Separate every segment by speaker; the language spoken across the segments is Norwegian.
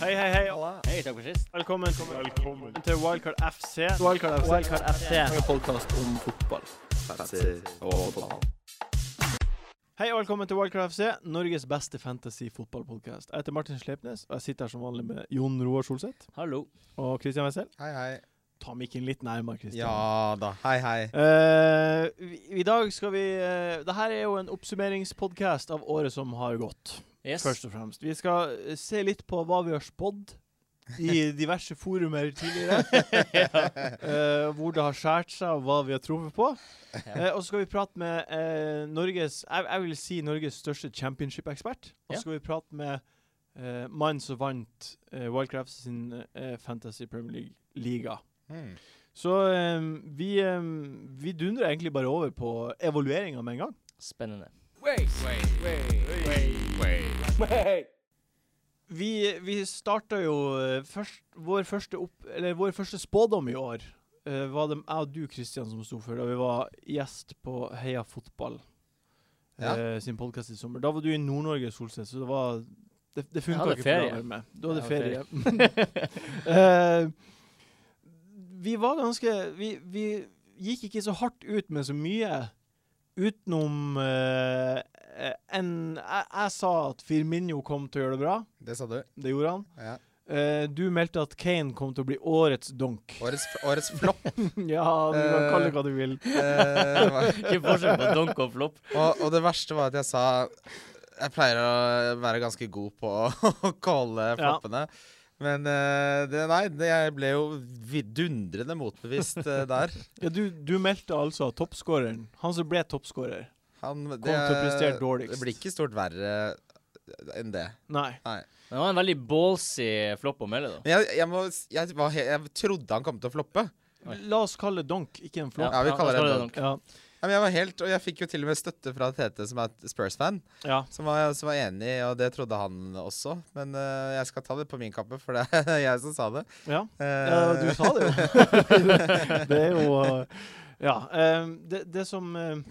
Speaker 1: Hei, hei, hei.
Speaker 2: Hei, takk for sist.
Speaker 1: Velkommen, til Wildcard FC.
Speaker 3: Wildcard FC.
Speaker 2: Wildcard FC.
Speaker 3: En podkast om fotball.
Speaker 1: Hei og velkommen til Wildcard FC, Norges beste fantasy-fotballpodkast. Jeg heter Martin Slepnes, og jeg sitter her som vanlig med Jon Roar Solseth
Speaker 2: Hallo.
Speaker 1: og Christian Wessel.
Speaker 4: Hei, hei.
Speaker 1: Ta mikken litt nærmere, Christian.
Speaker 4: Ja da. Hei, hei.
Speaker 1: Eh, vi, I dag skal vi uh, Det her er jo en oppsummeringspodkast av året som har gått.
Speaker 2: Yes.
Speaker 1: Først og fremst Vi skal eh, se litt på hva vi har spådd i diverse forumer tidligere. Eh, hvor det har skåret seg, og hva vi har truffet på. Eh, og så skal vi prate med eh, Norges jeg, jeg vil si Norges største championship-ekspert. Og
Speaker 2: Ja.
Speaker 1: så skal vi prate med eh, mannen som vant eh, Wildcraft sin eh, Fantasy Premier League-liga. Hmm.
Speaker 4: Mm.
Speaker 1: Så eh, vi, eh, vi dundrer egentlig bare over på evalueringa med en gang.
Speaker 2: Spennende.
Speaker 1: Vi, vi starta jo eh, først, vår, første opp, eller vår første spådom i år. eh, var det jeg og du, Kristian, som sto for da vi var gjest på Heia Fotball
Speaker 4: Ja.
Speaker 1: eh, sin podkast i sommer. Da var du i Nord-Norge, Solseth, så det var Det, det funka
Speaker 2: hadde
Speaker 1: ikke for deg å
Speaker 2: ferie.
Speaker 1: være med. Du hadde ferie.
Speaker 2: Jeg
Speaker 1: Eh, vi var ganske vi, vi gikk ikke så hardt ut med så mye utenom eh, eh, en jeg, jeg sa at Firminho kom til å gjøre det bra.
Speaker 4: Det sa du.
Speaker 1: Det gjorde han.
Speaker 4: Ja.
Speaker 1: Eh, du meldte at Kane kom til å bli årets donk.
Speaker 4: Årets, årets flopp.
Speaker 1: ja, du kan kalle det hva du vil.
Speaker 4: eh, var-
Speaker 2: Ikke forskjell på donk og flopp.
Speaker 4: og, og det verste var at jeg sa Jeg pleier å være ganske god på å kalle
Speaker 1: Ja.
Speaker 4: floppene. Men eh, det, nei, det, jeg ble jo vidundrende motbevist eh, der.
Speaker 1: Ja, du, du meldte altså toppskåreren, han som ble toppskårer.
Speaker 4: Han, det,
Speaker 1: til å prestere dårligst.
Speaker 4: Det blir ikke stort verre eh, enn det.
Speaker 1: Nei.
Speaker 2: Men det var en veldig ballsy flopp å melde, da.
Speaker 4: Men jeg, jeg, må, s- jeg, var, he- jeg trodde han kom til å floppe.
Speaker 2: Oi.
Speaker 1: La oss kalle det donk, ikke en flopp.
Speaker 4: Ja, vi kaller det
Speaker 2: da skal
Speaker 4: donk.
Speaker 1: Ja.
Speaker 4: Ja, men jeg var helt, og jeg fikk jo til og med støtte fra Tete, som er Spurs-fan,
Speaker 1: Ja.
Speaker 4: som, var- som var enig, og det trodde han også. Men eh, jeg skal ta det på min kappe, for det er jeg som sa det.
Speaker 1: ja.
Speaker 4: Eh,
Speaker 1: Ja, du sa det jo. det er jo uh, Ja. um, det, det som um,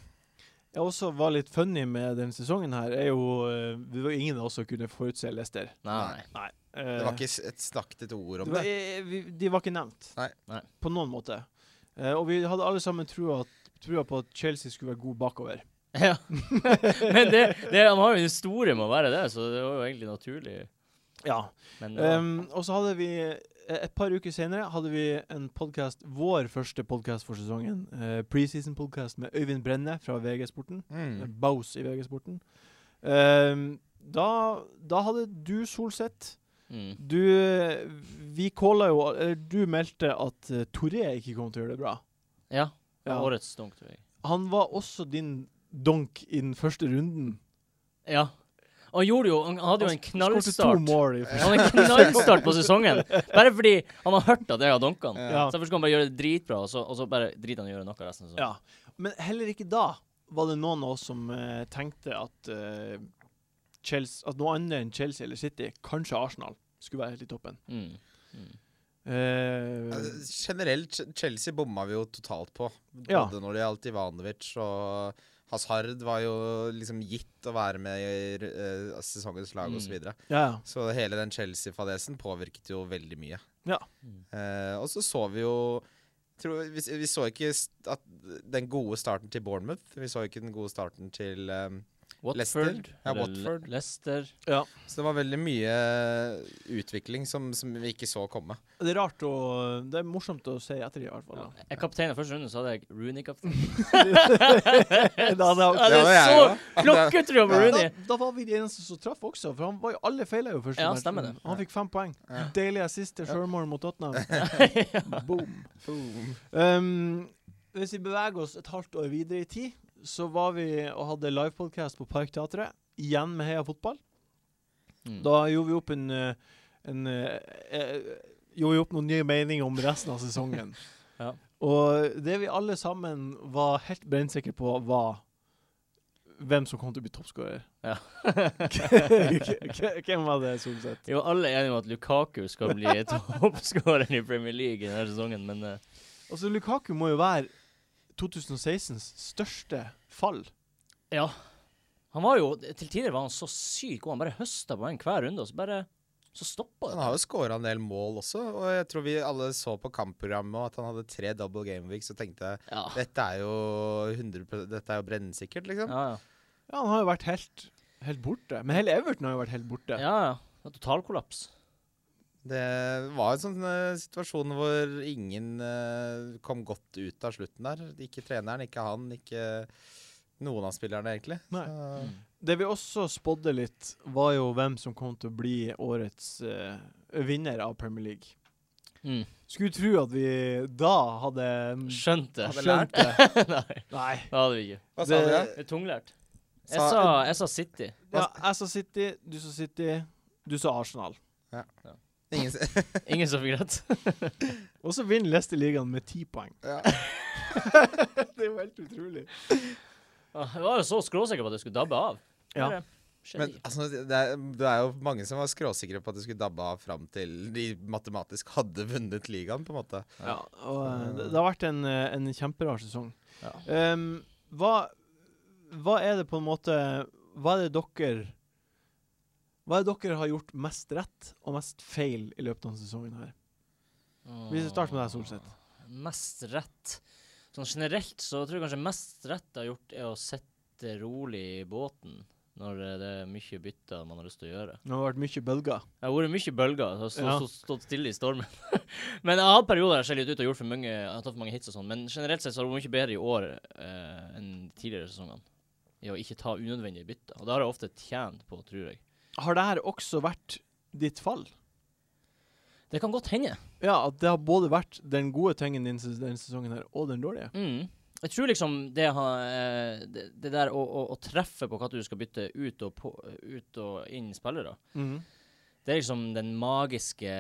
Speaker 1: jeg også var litt funny med denne sesongen her, er jo uh, Det var ingen av oss som kunne forutse Eh, Lester.
Speaker 2: Nei.
Speaker 4: det var ikke s- et snakket et ord
Speaker 1: det
Speaker 4: om
Speaker 1: var,
Speaker 4: det.
Speaker 1: eh, vi, De var ikke nevnt.
Speaker 4: Nei.
Speaker 2: Nei.
Speaker 1: På noen måte. Eh, og vi hadde alle sammen trua, trua på at Chelsea skulle være god bakover.
Speaker 2: Ja. Men det, det, han har jo en historie med å være det, så det var jo egentlig naturlig.
Speaker 1: Ja.
Speaker 2: Men det var-
Speaker 1: Um, og så hadde vi eh, et par uker senere hadde vi en podcast, vår første podkast for sesongen. Uh, Preseason-podkast med Øyvind Brenne fra VG-sporten.
Speaker 4: Mm.
Speaker 1: Baus i VG-sporten. Ehm, da, da hadde du Solseth
Speaker 2: mm.
Speaker 1: Du eh, Vi calla jo eller Du meldte at eh, Toré ikke kom til å gjøre det bra.
Speaker 2: Ja.
Speaker 1: Ja.
Speaker 2: Årets donk, tror jeg.
Speaker 1: Han var også din donk i den første runden.
Speaker 2: Ja. Og han gjorde jo Han hadde jo en
Speaker 1: Skårte to
Speaker 2: knallstart.
Speaker 1: mål i første
Speaker 2: Han hadde en knallstart på sesongen. Bare fordi han har hørt at jeg har donka han.
Speaker 1: ja.
Speaker 2: Så Derfor skal han bare gjøre det dritbra, og så, og så bare driter han i å gjøre noe resten av sesongen.
Speaker 1: Ja, men heller ikke da var det noen av oss som eh, tenkte at, eh, Chelsea, at noe annet enn Chelsea eller City, kanskje Arsenal, skulle være helt i toppen.
Speaker 2: Mm. Mm.
Speaker 1: Eh,
Speaker 4: Altså, Generelt, Ch- Chelsea bomma vi jo totalt på. Både
Speaker 1: Ja.
Speaker 4: når det gjaldt Ivanovic og Hazard var jo liksom gitt å være med i eh, sesongens lag
Speaker 2: Mm.
Speaker 4: og osv. Så, videre.
Speaker 1: ja, ja.
Speaker 4: så hele den Chelsea-fadesen påvirket jo veldig mye.
Speaker 1: Ja.
Speaker 2: Mm.
Speaker 4: Eh, og så så vi jo tror, vi, vi så ikke st- at den gode starten til Bournemouth. Vi så ikke den gode starten til eh,
Speaker 2: Watford.
Speaker 4: Leicester. Ja,
Speaker 2: eller
Speaker 4: Watford.
Speaker 2: Le- Leicester.
Speaker 4: Så det var veldig mye utvikling som, som vi ikke så komme.
Speaker 1: Det er rart og Det er morsomt å se etter det, i hvert fall.
Speaker 2: Ja.
Speaker 1: da.
Speaker 2: Jeg kapteina første runde, så hadde jeg Rooney kaptein.
Speaker 1: Da hadde jeg-
Speaker 2: Ja, det
Speaker 4: Det var
Speaker 2: er
Speaker 4: jeg
Speaker 2: så
Speaker 4: også.
Speaker 2: klokketro på
Speaker 4: Ja.
Speaker 1: Da,
Speaker 2: Rooney!
Speaker 1: da var vi de eneste som traff også, for han var jo alle feila jo første
Speaker 2: Ja,
Speaker 1: matchen.
Speaker 2: stemmer det.
Speaker 1: Han fikk fem poeng.
Speaker 4: Ja.
Speaker 1: Deilig assist til sjølmål mot Tottenham. Boom.
Speaker 4: Boom.
Speaker 1: Um, hvis vi beveger oss et halvt år videre i tid, så var vi og hadde livepodkast på Parkteatret. Igjen med Heia fotball.
Speaker 2: Mm.
Speaker 1: Da gjorde vi opp en, eh, en eh, eh, Gjorde vi opp noen nye meninger om resten av sesongen.
Speaker 2: Ja.
Speaker 1: Og det vi alle sammen var helt brennsikre på, var hvem som kom til å bli toppskårer.
Speaker 2: Ja.
Speaker 1: Hvem var det, Solseth?
Speaker 2: Vi var alle enige om at Lukaku skal bli toppskåreren i Premier League i denne sesongen, men eh,
Speaker 1: Altså, Lukaku må jo være 2016s største fall.
Speaker 2: ja. Han var jo, Til tider var han så syk, og han bare høsta poeng hver runde. og så bare så stoppa
Speaker 4: Han
Speaker 2: det.
Speaker 4: har jo skåra en del mål også, og jeg tror vi alle så på kampprogrammet og at han hadde tre double game weeks og tenkte
Speaker 2: Ja.
Speaker 4: dette er jo 100 dette er jo brennsikkert, liksom.
Speaker 2: Ja, ja.
Speaker 1: Ja, han har jo vært helt, helt borte. Men hele Everton har jo vært helt borte.
Speaker 2: ja, ja. Det er Totalkollaps.
Speaker 4: Det var en sånn eh, situasjon hvor ingen eh, kom godt ut av slutten der. Ikke treneren, ikke han, ikke noen av spillerne, egentlig.
Speaker 1: Nei.
Speaker 4: Så-
Speaker 1: Det vi også spådde litt, var jo hvem som kom til å bli årets eh, vinner av Premier League.
Speaker 2: Mm.
Speaker 1: Skulle tro at vi da hadde
Speaker 2: Skjønt det.
Speaker 4: Hadde
Speaker 1: skjønt det.
Speaker 2: Nei,
Speaker 1: Nei.
Speaker 2: det hadde vi ikke.
Speaker 4: Hva sa
Speaker 1: Det-
Speaker 4: dere?
Speaker 2: Det er tunglært. Jeg
Speaker 4: Sa-
Speaker 2: sa, jeg sa City.
Speaker 1: Ja, Altså, jeg sa City, du sa City, du sa Arsenal.
Speaker 4: Ingen s-
Speaker 2: Ingen som fikk rett.
Speaker 1: Og så vinner Leicester ligaen med ti poeng.
Speaker 4: ja.
Speaker 1: Det er jo helt utrolig.
Speaker 2: Ah, Jeg var jo så skråsikker på at jeg skulle dabbe av.
Speaker 1: Ja.
Speaker 2: Bare, skjer
Speaker 4: Men
Speaker 2: ikke.
Speaker 4: altså, det, er, det er jo mange som var skråsikre på at det skulle dabbe av fram til de matematisk hadde vunnet ligaen, på en måte.
Speaker 1: Ja, og eh, det, det har vært en, eh, en kjemperar sesong.
Speaker 2: Ja.
Speaker 1: Ehm, hva, hva er det på en måte Hva er det dere Hva er det dere har gjort mest rett og mest feil i løpet av denne sesongen her? Vi starter med deg, Solseth.
Speaker 2: Mest rett. Sånn generelt så tror jeg kanskje mest rett jeg har gjort, er å sitte rolig i båten når eh, det er mye bytter man har lyst til å gjøre.
Speaker 1: Det har vært mye bølger.
Speaker 2: Jeg har vært mye bølger. Jeg har stå,
Speaker 1: Ja.
Speaker 2: stå, stått stille i stormen. men jeg har hatt perioder der jeg ser litt ut og gjort for mange, jeg har tatt for mange hits og sånn. Men generelt sett så har det vært mye bedre i år eh, enn de tidligere sesongene. I å ikke ta unødvendige bytter. Og det har jeg ofte tjent på, tror jeg.
Speaker 1: Har det her også vært ditt fall?
Speaker 2: Det kan godt hende.
Speaker 1: Ja, at det har både vært den gode tingen din ses- denne sesongen her, og den dårlige.
Speaker 2: Mm. Jeg tror liksom det, har, eh, det, det der å, å, å treffe på hva du skal bytte ut og, på, ut og inn spillere, det er liksom den magiske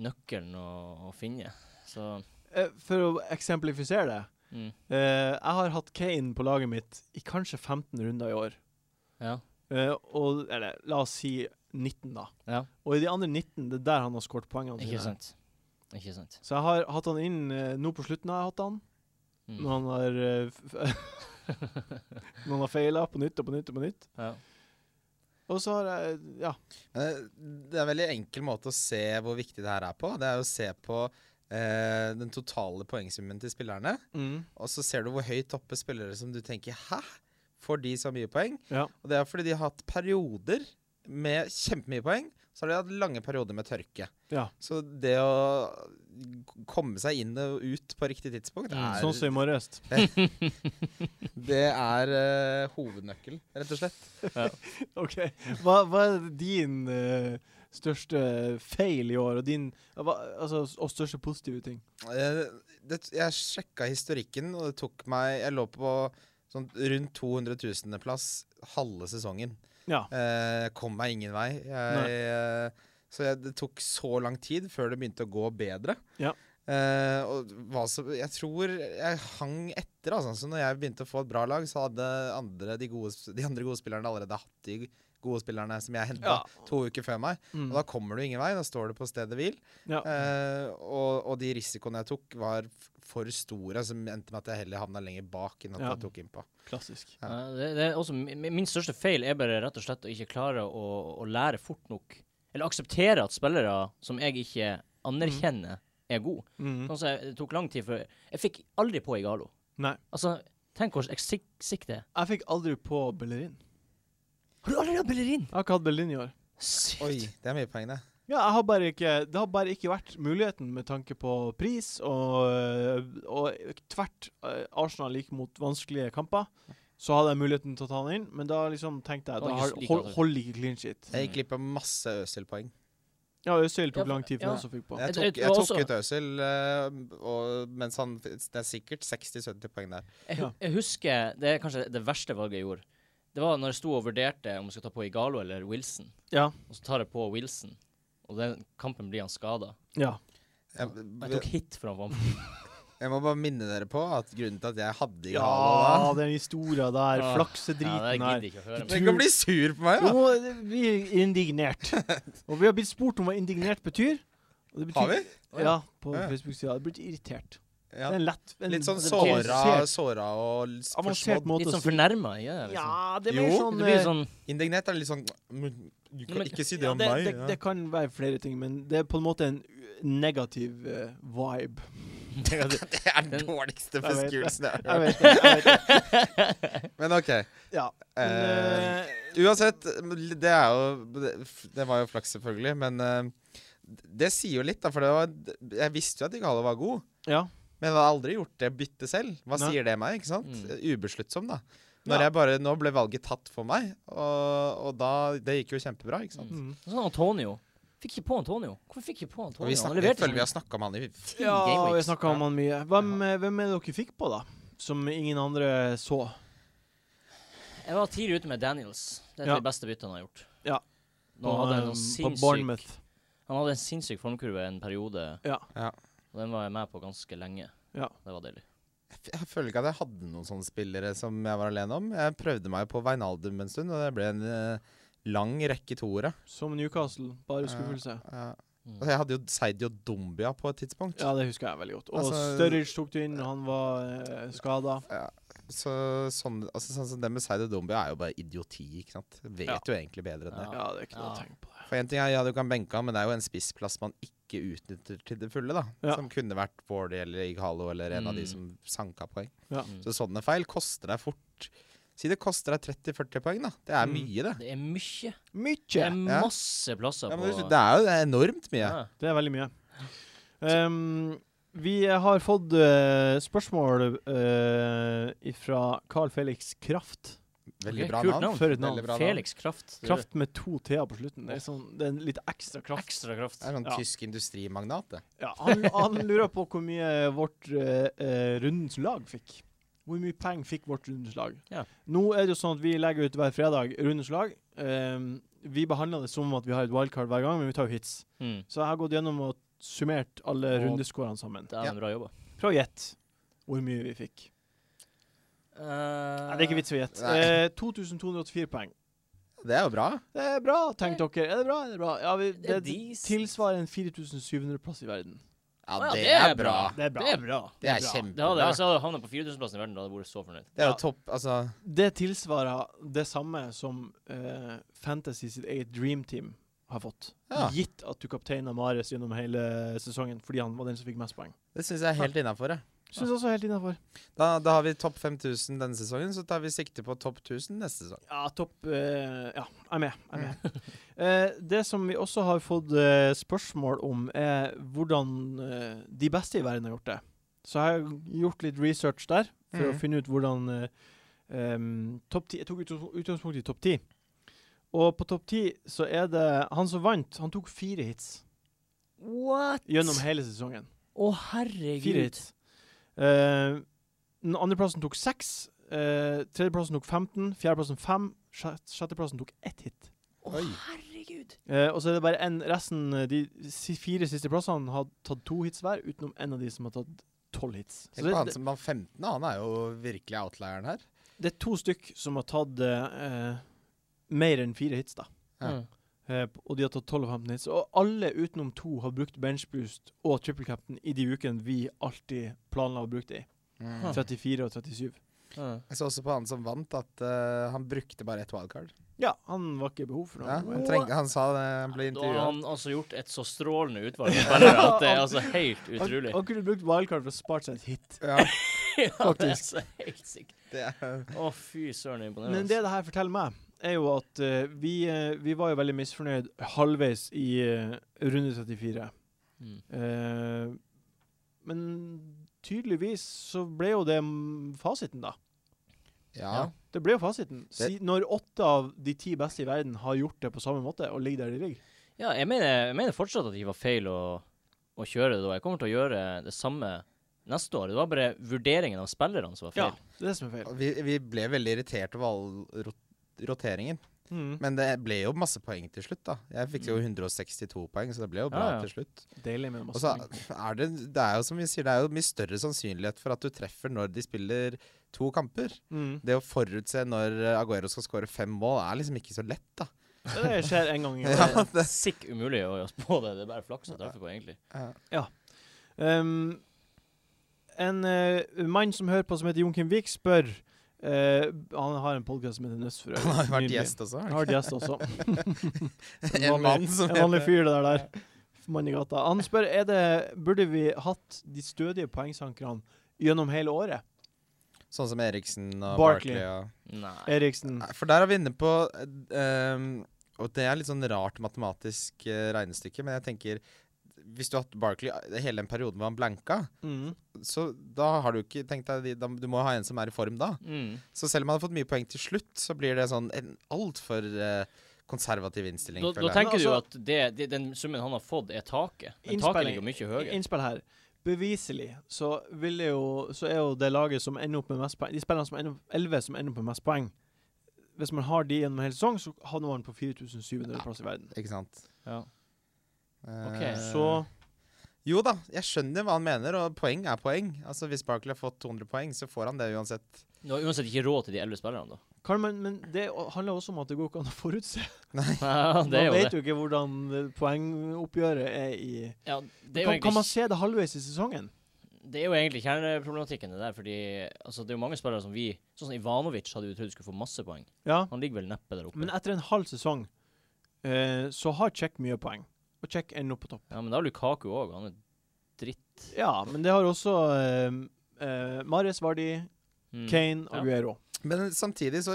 Speaker 2: nøkkelen å, å finne. Så
Speaker 1: Eh, For å eksemplifisere det.
Speaker 2: mm.
Speaker 1: eh, jeg har hatt Kane på laget mitt i kanskje 15 runder i år.
Speaker 2: ja.
Speaker 1: Eh, og, eller la oss si 19, da.
Speaker 2: ja.
Speaker 1: Og i de andre 19, det er der han har skåret poengene
Speaker 2: Ikke
Speaker 1: sine.
Speaker 2: sant. Ikke sant.
Speaker 1: Så jeg har hatt han inn eh, nå på slutten. har jeg hatt han
Speaker 2: Mm.
Speaker 1: Når han har eh, f- Når han har feila på nytt og på nytt og på nytt.
Speaker 2: Ja.
Speaker 1: Og så har jeg Ja.
Speaker 4: Eh, Det er en veldig enkel måte å se hvor viktig det her er på. Det er å se på eh, den totale poengsummen til spillerne. Og så ser du hvor høyt oppe spillere som du tenker Hæ? Får de så mye poeng?
Speaker 1: Ja.
Speaker 4: Og det er fordi de har hatt perioder med kjempemye poeng. Så har de hatt lange perioder med tørke.
Speaker 1: Ja.
Speaker 4: Så det å komme seg inn og ut på riktig tidspunkt,
Speaker 2: Mm,
Speaker 4: er,
Speaker 1: Sånn som i morges.
Speaker 4: det er eh, hovednøkkelen, rett og slett.
Speaker 1: OK. Hva, hva er din eh, største feil i år, og din hva, Altså, og største positive ting?
Speaker 4: Eh, det, jeg sjekka historikken, og det tok meg Jeg lå på sånn rundt 200 000.-plass halve sesongen.
Speaker 1: Ja.
Speaker 4: Eh, jeg kom meg ingen vei. Jeg, eh, så jeg, det tok så lang tid før det begynte å gå bedre.
Speaker 1: Ja.
Speaker 4: Eh, og hva så, jeg tror jeg hang etter. Altså. Så når jeg begynte å få et bra lag, så hadde andre, de, gode, de andre gode spillerne allerede hatt de gode spillerne som jeg henta to uker før meg.
Speaker 1: Mm.
Speaker 4: Og da kommer du ingen vei. Da står du på stedet hvil.
Speaker 1: ja.
Speaker 4: Eh, og, og de risikoene jeg tok, var f- for store, som endte med at jeg heller havna lenger bak enn at
Speaker 1: Ja.
Speaker 4: jeg tok innpå.
Speaker 1: Klassisk.
Speaker 4: Ja.
Speaker 2: Ja, Det, det er også, mi- mi- min største feil er bare rett og slett å ikke klare å, å lære fort nok. Eller akseptere at spillere som jeg ikke anerkjenner, er gode.
Speaker 1: Mm.
Speaker 2: Sånn som jeg- det tok lang tid før Jeg fikk aldri på Igalo.
Speaker 1: Nei.
Speaker 2: Altså, tenk hvor sik- sick det er.
Speaker 1: Jeg fikk aldri på Bellerin.
Speaker 2: Har du aldri hatt Bellerin?
Speaker 1: Jeg har ikke hatt Bellerin i år.
Speaker 2: Sykt.
Speaker 4: Oi, det er mye poeng, det.
Speaker 1: Ja, jeg har bare ikke, det har bare ikke vært muligheten med tanke på pris og, øh, og tvert øh, Arsenal gikk mot vanskelige kamper. Så hadde jeg muligheten til å ta han inn, men da liksom tenkte jeg
Speaker 2: Det
Speaker 1: da
Speaker 2: var ikke
Speaker 1: har,
Speaker 2: slik
Speaker 1: hold,
Speaker 2: attraktivt.
Speaker 1: holder ikke clean shit.
Speaker 4: Jeg gikk glipp av masse Øsil-poeng.
Speaker 1: Ja, Øzil
Speaker 2: Ja,
Speaker 1: tok lang tid
Speaker 2: ja.
Speaker 1: før han også fikk på.
Speaker 4: Jeg
Speaker 2: Jeg-
Speaker 4: tok,
Speaker 2: jeg
Speaker 4: jeg
Speaker 2: tror
Speaker 4: tok
Speaker 2: også-
Speaker 4: ut Øsil, og, mens han Det er sikkert 60-70 poeng der.
Speaker 2: Jeg,
Speaker 1: Ja.
Speaker 2: hu- jeg husker Det er kanskje det verste valget jeg gjorde. Det var når jeg sto og vurderte om jeg skulle ta på Igalo eller Wilson.
Speaker 1: Ja.
Speaker 2: Og så tar jeg på Wilson, og den kampen blir han skada.
Speaker 1: Ja.
Speaker 4: Jeg,
Speaker 2: Jeg tok
Speaker 4: jeg,
Speaker 2: hit for han.
Speaker 4: må bare minne dere på at grunnen til at jeg hadde
Speaker 1: ja,
Speaker 4: Igalo da
Speaker 1: den historia der.
Speaker 2: Ah. Ja, det
Speaker 1: Flaksedriten
Speaker 2: gidder
Speaker 1: her.
Speaker 2: jeg ikke å høre. mer.
Speaker 4: Tenk å bli sur på meg,
Speaker 1: Du
Speaker 4: da!
Speaker 1: må bli indignert. Og vi har blitt spurt om hva indignert betyr. Og det betyr
Speaker 4: Har vi?
Speaker 1: Ja, på
Speaker 4: Ja.
Speaker 1: Facebook-sida. Det blir irritert.
Speaker 4: Ja.
Speaker 1: Det er en lett en
Speaker 4: Litt sånn
Speaker 1: avansert-
Speaker 4: såra, såra og l-
Speaker 1: avansert
Speaker 4: forsmådd.
Speaker 1: måte
Speaker 2: Litt
Speaker 1: å
Speaker 2: sånn
Speaker 1: si
Speaker 2: fornærma. Ja, liksom.
Speaker 1: Ja, det
Speaker 4: Jo,
Speaker 1: blir
Speaker 2: Det
Speaker 1: sånn,
Speaker 2: blir
Speaker 1: eh,
Speaker 2: sånn
Speaker 4: Indignert er litt sånn Du
Speaker 2: kan men-
Speaker 4: ikke si
Speaker 1: Ja, det, det, det kan være flere ting, men det er på en måte en u- negativ eh, vibe.
Speaker 4: Det er den
Speaker 2: Den-
Speaker 4: dårligste
Speaker 1: Jeg vet det.
Speaker 4: beskrivelsen jeg har
Speaker 1: Jeg
Speaker 4: hørt.
Speaker 1: vet det. Jeg vet det.
Speaker 4: Men OK.
Speaker 1: Ja. Men,
Speaker 4: eh, uansett, det er jo det- Det var jo flaks, selvfølgelig, men eh, det sier jo litt, da. For det var, jeg visste jo at Igalo var god,
Speaker 1: eh, ja.
Speaker 4: men jeg hadde aldri gjort det byttet selv. Hva
Speaker 1: Nei.
Speaker 4: sier det meg? ikke sant?
Speaker 2: Mm.
Speaker 4: Ubesluttsom, da. Når
Speaker 1: Ja.
Speaker 4: jeg bare, Nå ble valget tatt for meg, og, og da Det gikk jo kjempebra, ikke sant?
Speaker 1: Mm.
Speaker 2: Sånn Antonio. Fikk ikke på Antonio. Hvorfor fikk ikke på
Speaker 4: Og
Speaker 2: Antonio?
Speaker 4: vi
Speaker 2: Han
Speaker 4: snakker, jeg
Speaker 2: leverte
Speaker 4: føler
Speaker 2: sånn-
Speaker 4: vi
Speaker 1: liksom.
Speaker 4: har snakka med han i ti
Speaker 1: ja,
Speaker 4: game
Speaker 1: vi
Speaker 4: weeks.
Speaker 1: snakka om han mye. Hvem, eh, hvem er det dere fikk på, da? Som ingen andre så?
Speaker 2: Jeg var tidlig ute med Daniels. Det er et
Speaker 1: Ja.
Speaker 2: av de beste byttene han har gjort.
Speaker 1: Ja.
Speaker 2: Nå hadde han,
Speaker 1: eh,
Speaker 2: noen
Speaker 1: på
Speaker 2: sinnssyk,
Speaker 1: Bournemouth.
Speaker 2: han hadde en sinnssyk formkurve en periode,
Speaker 1: Ja.
Speaker 4: Ja.
Speaker 2: og den var jeg med på ganske lenge.
Speaker 1: Ja.
Speaker 2: Det var deilig.
Speaker 4: F- Jeg føler ikke at jeg hadde noen sånne spillere som jeg var alene om. Jeg prøvde meg på Veinaldum en stund, og det ble en eh, lang rekke toere.
Speaker 1: Som Newcastle. Bare skuffelse.
Speaker 4: Ja.
Speaker 2: Mm.
Speaker 4: Og Jeg hadde jo Seidi og Dombia på et tidspunkt.
Speaker 1: Ja, det husker jeg veldig godt. Og
Speaker 4: Altså-
Speaker 1: Sturridge tok det inn, og han var eh, skada.
Speaker 4: Så sånn, altså, sånn som det med Seidi og Dombia er jo bare idioti, ikke sant. Jeg vet
Speaker 1: Ja.
Speaker 4: jo egentlig bedre enn
Speaker 2: Ja.
Speaker 4: det.
Speaker 1: Ja, det er ikke noe
Speaker 2: Ja.
Speaker 1: å tenke på. det.
Speaker 4: For en ting er ja, du kan benke han, men det er jo en spissplass man ikke utnytter til det fulle, da.
Speaker 1: Ja.
Speaker 4: Som kunne vært Wardy eller Ighalo eller en av de
Speaker 2: Mm.
Speaker 4: som sanka poeng.
Speaker 1: Ja.
Speaker 2: Mm.
Speaker 4: Så sånne feil koster deg fort. Si det koster deg 30-40 poeng, da. Det er
Speaker 1: Mm.
Speaker 4: mye, det.
Speaker 2: Det er mye. Det
Speaker 1: Mye!
Speaker 2: er
Speaker 4: Ja.
Speaker 2: masse plasser
Speaker 4: Ja, men
Speaker 2: på
Speaker 4: det, det er jo enormt mye.
Speaker 2: Ja.
Speaker 1: Det er veldig mye. Ehm, vi har fått eh, spørsmål fra Carl Felix Kraft.
Speaker 4: Veldig
Speaker 2: Ok,
Speaker 4: bra
Speaker 2: kult
Speaker 4: navn.
Speaker 2: navn.
Speaker 1: For et navn.
Speaker 4: Veldig bra
Speaker 2: Felix Kraft. det er
Speaker 1: Kraft med to t-er på slutten. Det er, sånn, det er en litt ekstra kraft.
Speaker 2: Ekstra kraft.
Speaker 4: Det er sånn
Speaker 1: Ja.
Speaker 4: tysk industrimagnat, det.
Speaker 1: Ja, han, han lurer på hvor mye vårt eh, eh, rundens lag fikk. Hvor mye penger fikk vårt rundens lag?
Speaker 2: Ja.
Speaker 1: Nå er det jo sånn at vi legger ut hver fredag rundens lag. Ehm, vi behandler det som at vi har et wildcard hver gang, men vi tar jo hits.
Speaker 2: Mm.
Speaker 1: Så jeg har gått gjennom og summert alle
Speaker 2: Og-
Speaker 1: rundeskårene sammen.
Speaker 2: Det er
Speaker 4: Ja.
Speaker 2: bra jobba.
Speaker 1: Prøv å gjette hvor mye vi fikk. Nei, det er ikke vits i å gjette.
Speaker 4: Nei.
Speaker 1: Eh, 2284 poeng.
Speaker 4: Det er jo bra.
Speaker 1: Det er bra, tenk dere. Er det bra? Er det bra? Ja, vi,
Speaker 2: Eh, Det er
Speaker 1: det,
Speaker 2: decent.
Speaker 1: tilsvarer en 4700 plass i verden.
Speaker 4: Ja,
Speaker 2: ja,
Speaker 4: det, er bra.
Speaker 1: Det er bra.
Speaker 2: Det er bra.
Speaker 4: Ah. Det er
Speaker 1: bra.
Speaker 4: altså-
Speaker 2: Det hadde,
Speaker 4: kjempebra.
Speaker 2: hvis jeg hadde havnet på 4000-plassen i verden, da hadde jeg vært så fornøyd.
Speaker 4: Det er
Speaker 1: Ja.
Speaker 4: jo topp Altså,
Speaker 1: Det tilsvarer det samme som eh, Fantasy sitt eget Dream Team har fått.
Speaker 4: Ja.
Speaker 1: Gitt at du kapteina Marius gjennom hele sesongen fordi han var den som fikk mest poeng.
Speaker 4: det syns jeg er helt innafor, det.
Speaker 1: Syns også helt innafor.
Speaker 4: Da, da har vi topp 5000 denne sesongen, så tar vi sikte på topp 1000 neste sesong.
Speaker 1: Ja, topp eh, Ja, jeg er med. Jeg er med. Eh, det som vi også har fått eh, spørsmål om, er hvordan eh, de beste i verden har gjort det. Så jeg har gjort litt research der for å
Speaker 4: Mhm.
Speaker 1: finne ut hvordan eh, em, topp 10 Jeg tok utgangs- utgangspunkt i topp ti. Og på topp ti så er det han som vant, han tok fire hits
Speaker 2: What?
Speaker 1: gjennom hele sesongen.
Speaker 2: Å, herregud.
Speaker 1: Fire hits. Eh, den andreplassen tok seks. eh, tredjeplassen tok 15. Fjerdeplassen fem. sjette- Sjetteplassen tok ett hit.
Speaker 2: Å,
Speaker 4: Oi.
Speaker 2: herregud.
Speaker 1: Eh, og så er det bare en, resten, eh, de si- fire siste plassene, har tatt to hits hver, utenom en av de som har tatt tolv hits. Så
Speaker 4: Tenk på han
Speaker 1: det, det,
Speaker 4: som var 15, han er jo virkelig outlieren her.
Speaker 1: det er to stykk som har tatt eh, eh, mer enn fire hits, da.
Speaker 4: Ja.
Speaker 2: Mm.
Speaker 1: Eh, og de har tatt 12 og 15 hits. Og alle utenom to har brukt benchboost og triple captain i de ukene vi alltid planla å bruke det i.
Speaker 4: Mm.
Speaker 1: 34 og 37.
Speaker 2: Ja.
Speaker 4: Jeg så også på han som vant, at eh, han brukte bare ett wildcard.
Speaker 1: Ja, han var ikke i behov for
Speaker 4: Ja,
Speaker 1: noe.
Speaker 4: han, trengte, han sa det, han ble
Speaker 2: Da har
Speaker 4: intervjua.
Speaker 2: han altså gjort et så strålende utvalg av spillere at det er altså helt
Speaker 1: han,
Speaker 2: utrolig.
Speaker 1: han kunne brukt wildcard for å spart seg et hit.
Speaker 4: Ja,
Speaker 2: Ja, det er
Speaker 1: faktisk.
Speaker 2: så helt sikkert.
Speaker 4: det er
Speaker 2: Å, fy søren, det er imponerende. altså.
Speaker 1: Men det det her forteller meg, er jo at eh, vi, eh, vi var jo veldig misfornøyd halvveis i eh, runde 34.
Speaker 2: Mm.
Speaker 1: Eh, men tydeligvis så ble jo det mm, fasiten, da.
Speaker 4: ja.
Speaker 1: Det ble jo fasiten. Si, når åtte av de ti beste i verden har gjort det på samme måte og ligger der de ligger.
Speaker 2: Ja, jeg mener, jeg mener fortsatt at det var feil å, å kjøre det da. Jeg kommer til å gjøre det samme neste år. Det var bare vurderingen av spillerne som var
Speaker 1: Ja,
Speaker 2: feil.
Speaker 1: det er det som er feil.
Speaker 4: Og Vi, vi ble veldig irritert over all rot roteringen.
Speaker 1: Mm.
Speaker 4: Men det ble jo masse poeng til slutt, da. Jeg fikk jo 162 poeng, så det ble jo bra
Speaker 2: Ja, ja.
Speaker 4: til slutt.
Speaker 1: Deilig med
Speaker 4: Og
Speaker 1: masse
Speaker 4: så
Speaker 1: ting.
Speaker 4: er det, det er jo som vi sier, det er jo mye større sannsynlighet for at du treffer når de spiller to kamper.
Speaker 1: Mm.
Speaker 4: Det å forutse når eh, Aguero skal skåre fem mål, er liksom ikke så lett, da.
Speaker 1: Det skjer en gang i året.
Speaker 4: Ja,
Speaker 2: Det
Speaker 4: det,
Speaker 2: er Sikk umulig å spå det. Det er bare flaks å treffe på, egentlig.
Speaker 4: ja.
Speaker 1: Um, en eh, mann som hører på som heter Jon Kim Vik, spør Eh, han har en podkast som heter Nøss for øvrig.
Speaker 4: Han har jo vært
Speaker 1: Nydelig.
Speaker 4: gjest også.
Speaker 1: Han
Speaker 4: har
Speaker 1: har vært gjest også.
Speaker 4: han ikke?
Speaker 1: En
Speaker 4: En mann som
Speaker 1: En vanlig
Speaker 4: heter
Speaker 1: fyr, det der. der. Mann i gata. Han spør er det, burde vi hatt de stødige poengsankerne gjennom hele året.
Speaker 4: Sånn som Eriksen og
Speaker 1: Barkley. Mm.
Speaker 4: Barkley og
Speaker 2: Nei.
Speaker 1: Eriksen.
Speaker 4: Nei, For der er vi inne på eh, um, Og det er litt sånn rart matematisk eh, regnestykke, men jeg tenker Hvis du har hatt Barkley eh, hele den perioden hvor han blanka,
Speaker 1: Mm.
Speaker 4: så da har du ikke tenkt deg de- da, Du må ha en som er i form da.
Speaker 2: Mm.
Speaker 4: Så selv om han har fått mye poeng til slutt, så blir det sånn en altfor eh, konservativ innstilling.
Speaker 2: Da, da
Speaker 4: føler jeg.
Speaker 2: tenker du jo
Speaker 1: Men altså-
Speaker 2: at det, det, den summen han har fått, er taket. Men taket
Speaker 1: Innspilling-
Speaker 2: ligger jo mye høyere.
Speaker 1: Innspill her. Beviselig så, vil det jo, så er jo det laget som ender opp med mest poeng De spillerne som ender opp 11 som ender opp med mest poeng. Hvis man har de gjennom hele sesong, så havner man på 4700. plass i verden.
Speaker 4: Ikke sant?
Speaker 2: Ja.
Speaker 4: Eh,
Speaker 2: Ok.
Speaker 1: Så
Speaker 4: Jo da, jeg skjønner hva han mener, og poeng er poeng. Altså Hvis Barkley har fått 200 poeng, så får han det uansett.
Speaker 2: Du har uansett ikke råd til de elleve spillerne, da.
Speaker 1: kan man Men det handler også om at det går ikke an å forutse.
Speaker 2: Ja, det
Speaker 1: man
Speaker 2: er jo
Speaker 1: vet
Speaker 2: det.
Speaker 1: jo ikke hvordan eh, poengoppgjøret er i
Speaker 2: Ja, det, er jo
Speaker 1: kan, kan man
Speaker 2: egentlig,
Speaker 1: se det halvveis i sesongen?
Speaker 2: det er jo egentlig kjerneproblematikken, det der. Fordi altså, det er jo mange spillere som vi Sånn som Ivanovic hadde vi trodd skulle få masse poeng.
Speaker 1: Ja.
Speaker 2: Han ligger vel neppe der oppe.
Speaker 1: Men etter en halv sesong eh, så har Check mye poeng. Og Check ender opp på topp.
Speaker 2: Ja, men da har Lukaku òg. Han er dritt.
Speaker 1: Ja, men det har også eh, eh, Mares, Vardi,
Speaker 2: Mm.
Speaker 1: Kane og
Speaker 2: Ja.
Speaker 1: Guero.
Speaker 4: Men samtidig, så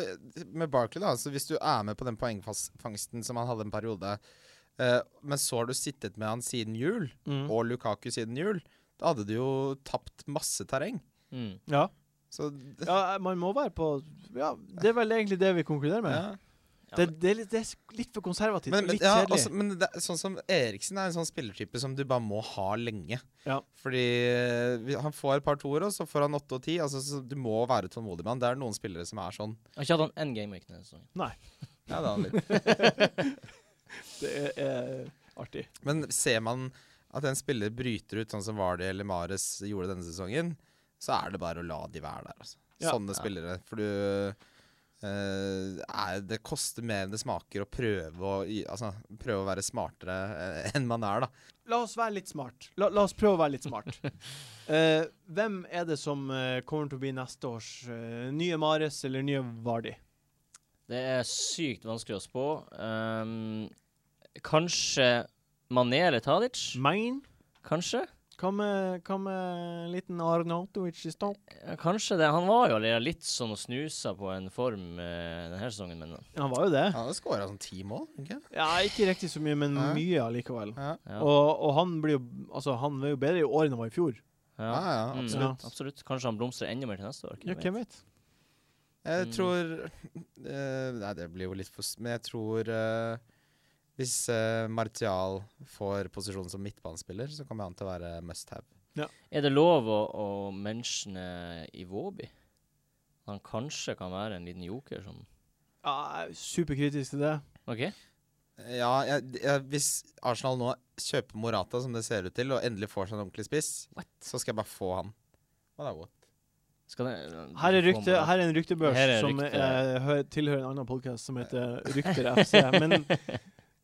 Speaker 4: med Barkley, da, så hvis du er med på den poengfangsten som han hadde en periode, eh, men så har du sittet med han siden jul,
Speaker 1: Mm.
Speaker 4: og Lukaku siden jul, da hadde du jo tapt masse terreng.
Speaker 2: Mm.
Speaker 1: Ja.
Speaker 4: Så det,
Speaker 1: ja, man må være på Ja, det er vel egentlig det vi konkluderer med.
Speaker 4: ja.
Speaker 2: Ja,
Speaker 1: Det, det, er litt, det er s- litt for konservativt.
Speaker 4: Men, men,
Speaker 1: litt
Speaker 4: ja,
Speaker 1: kjedelig.
Speaker 4: altså, men det, er sånn som Eriksen er en sånn spillertype som du bare må ha lenge.
Speaker 1: Ja.
Speaker 4: Fordi eh, vi- han får et par toer, og så får han åtte og ti. Altså, så du må være tålmodig med han. Det er noen spillere som er sånn.
Speaker 2: Jeg har ikke hatt han én gameweek denne sesongen.
Speaker 4: Ja, det er han litt.
Speaker 1: det er, er artig.
Speaker 4: Men ser man at en spiller bryter ut, sånn som Vardy eller Mares gjorde denne sesongen, så er det bare å la de være der. Altså.
Speaker 1: Ja.
Speaker 4: Sånne
Speaker 2: Ja.
Speaker 4: spillere. For du eh, er, Det koster mer enn det smaker å prøve å, y- altså, prøve å være smartere eh, enn man er, da.
Speaker 1: La oss være litt smart. La, la oss prøve å være litt smart. Eh, hvem er det som eh, kommer til å bli neste års eh, nye Mares eller nye Vardi?
Speaker 2: Det er sykt vanskelig å spå. Ehm, kanskje Mané eller Tadic?
Speaker 1: Main?
Speaker 2: Kanskje?
Speaker 1: Hva med, hva med en liten Arnautovic i stad?
Speaker 2: Ja, kanskje det. Han var jo allerede litt sånn og snusa på en form eh, denne sesongen, men
Speaker 1: Han var jo det.
Speaker 4: Han har skåra sånn ti mål. ikke?
Speaker 1: Ja, ikke riktig så mye, men
Speaker 4: Nei.
Speaker 1: mye allikevel.
Speaker 4: Ja.
Speaker 2: ja.
Speaker 1: Og, og han blir jo Altså, han var jo bedre i år enn han var i fjor.
Speaker 2: ja.
Speaker 4: Ja, ja,
Speaker 2: Mm,
Speaker 4: absolutt.
Speaker 1: absolutt.
Speaker 2: ja, absolutt. Kanskje han blomstrer enda mer til neste år.
Speaker 1: Ja,
Speaker 2: hvem vet?
Speaker 1: hvem vet?
Speaker 4: Jeg
Speaker 2: Mm.
Speaker 4: tror eh, Nei, det blir jo litt for s- Men jeg tror eh, hvis eh, Martial får posisjon som midtbanespiller, så kommer han til å være must have.
Speaker 2: Er det lov å, å mentionne Iwobi? Han kanskje kan være en liten joker som
Speaker 1: Ja, jeg er superkritisk til det.
Speaker 2: OK?
Speaker 4: Ja, jeg, d- jeg, hvis Arsenal nå kjøper Morata, som det ser ut til, og endelig får seg en ordentlig spiss, så skal jeg bare få han. Hva da, what?
Speaker 2: Skal det,
Speaker 1: Her er, rykte, her er en ryktebørs
Speaker 2: Her er
Speaker 1: som
Speaker 2: rykte.
Speaker 1: eh, hø- tilhører en annen podkast som heter Rykter FC. Men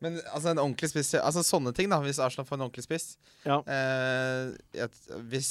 Speaker 4: Men altså, en ordentlig spiss Altså sånne ting, da, hvis Arsenal får en ordentlig spiss.
Speaker 1: Ja.
Speaker 4: Eh, jeg, t- hvis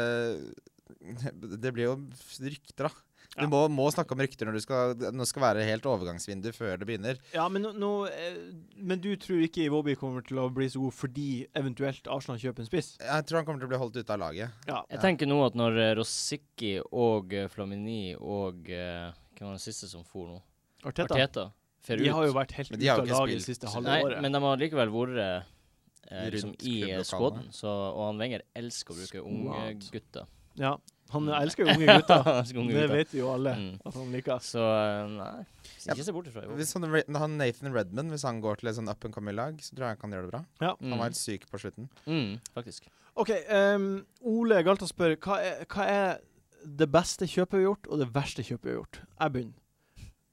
Speaker 4: eh, Det blir jo rykter, da. Du
Speaker 1: Ja.
Speaker 4: må, må snakke om rykter når du skal, når det skal være helt overgangsvindu før det begynner.
Speaker 1: Ja, men, nå, nå, eh, men du tror ikke Iwobi kommer til å bli så god fordi eventuelt Arsenal kjøper en spiss?
Speaker 4: Jeg tror han kommer til å bli holdt ute av laget.
Speaker 1: Ja.
Speaker 2: Jeg tenker nå at når eh, Rosicki og eh, Flamini og eh, Hvem var den siste som for nå?
Speaker 1: Arteta.
Speaker 2: Arteta. fer
Speaker 1: De
Speaker 2: ut.
Speaker 1: har jo vært helt
Speaker 4: Men de
Speaker 1: ute
Speaker 4: har jo
Speaker 1: av
Speaker 4: ikke
Speaker 1: laget det
Speaker 4: spilt.
Speaker 1: siste halve
Speaker 2: Nei,
Speaker 1: året.
Speaker 2: men de har likevel vært eh, liksom
Speaker 4: Rundt
Speaker 2: i eh,
Speaker 4: klubblokalene.
Speaker 2: squaden. Så, og han Wenger elsker å bruke unge
Speaker 1: Squad.
Speaker 2: gutter. Mm.
Speaker 1: Ja, han
Speaker 4: Mm.
Speaker 1: elsker jo unge gutter.
Speaker 2: Elsker unge
Speaker 1: Det
Speaker 2: gutter.
Speaker 1: vet jo alle
Speaker 2: Mm.
Speaker 1: at han liker.
Speaker 2: Så eh, nei,
Speaker 4: Ja,
Speaker 2: ikke se bort ifra. jo.
Speaker 4: Hvis han, han Nathan Redman Hvis han går til et sånn up and coming-lag, så tror jeg han kan gjøre det bra. Han
Speaker 2: Mm.
Speaker 4: var helt syk på slutten.
Speaker 2: Mm, faktisk.
Speaker 1: OK, ehm, Ole Galta spør hva er, hva er det beste kjøpet vi har gjort, og det verste kjøpet vi har gjort? Jeg begynner.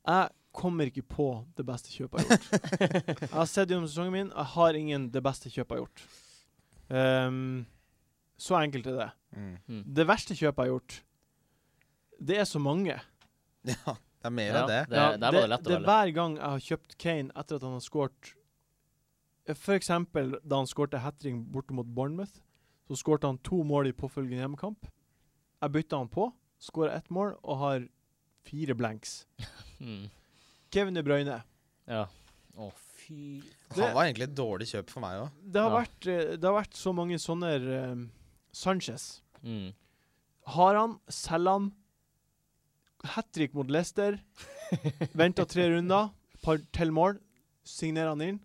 Speaker 1: Jeg kommer ikke på det beste kjøpet jeg har gjort. jeg har sett gjennom sesongen min, jeg har ingen det beste kjøpet jeg har gjort. Ehm, så enkelt er det.
Speaker 4: Mm.
Speaker 2: Mm.
Speaker 1: Det verste kjøpet jeg har gjort, det er så mange.
Speaker 4: Ja, det er mer
Speaker 2: Ja,
Speaker 4: av det.
Speaker 2: det- der var det lett å
Speaker 1: det er
Speaker 2: velge.
Speaker 1: hver gang jeg har kjøpt Kane etter at han har skåret F.eks. da han skårte hat-tring borte mot Bournemouth. Så skårte han to mål i påfølgende hjemmekamp. Jeg bytta han på, skåra ett mål og har Fire blanks.
Speaker 2: Mm.
Speaker 1: Kevin De Bruyne.
Speaker 2: Ja. Å, fy
Speaker 4: Han var egentlig et dårlig kjøp for meg òg.
Speaker 1: Det har,
Speaker 2: Ja.
Speaker 1: vært, eh, det har vært så mange sånne eh, Sanchez.
Speaker 2: mm.
Speaker 1: Har han, selger han. Hat trick mot Leicester. Venter tre runder. Par til mål. Signerer han inn.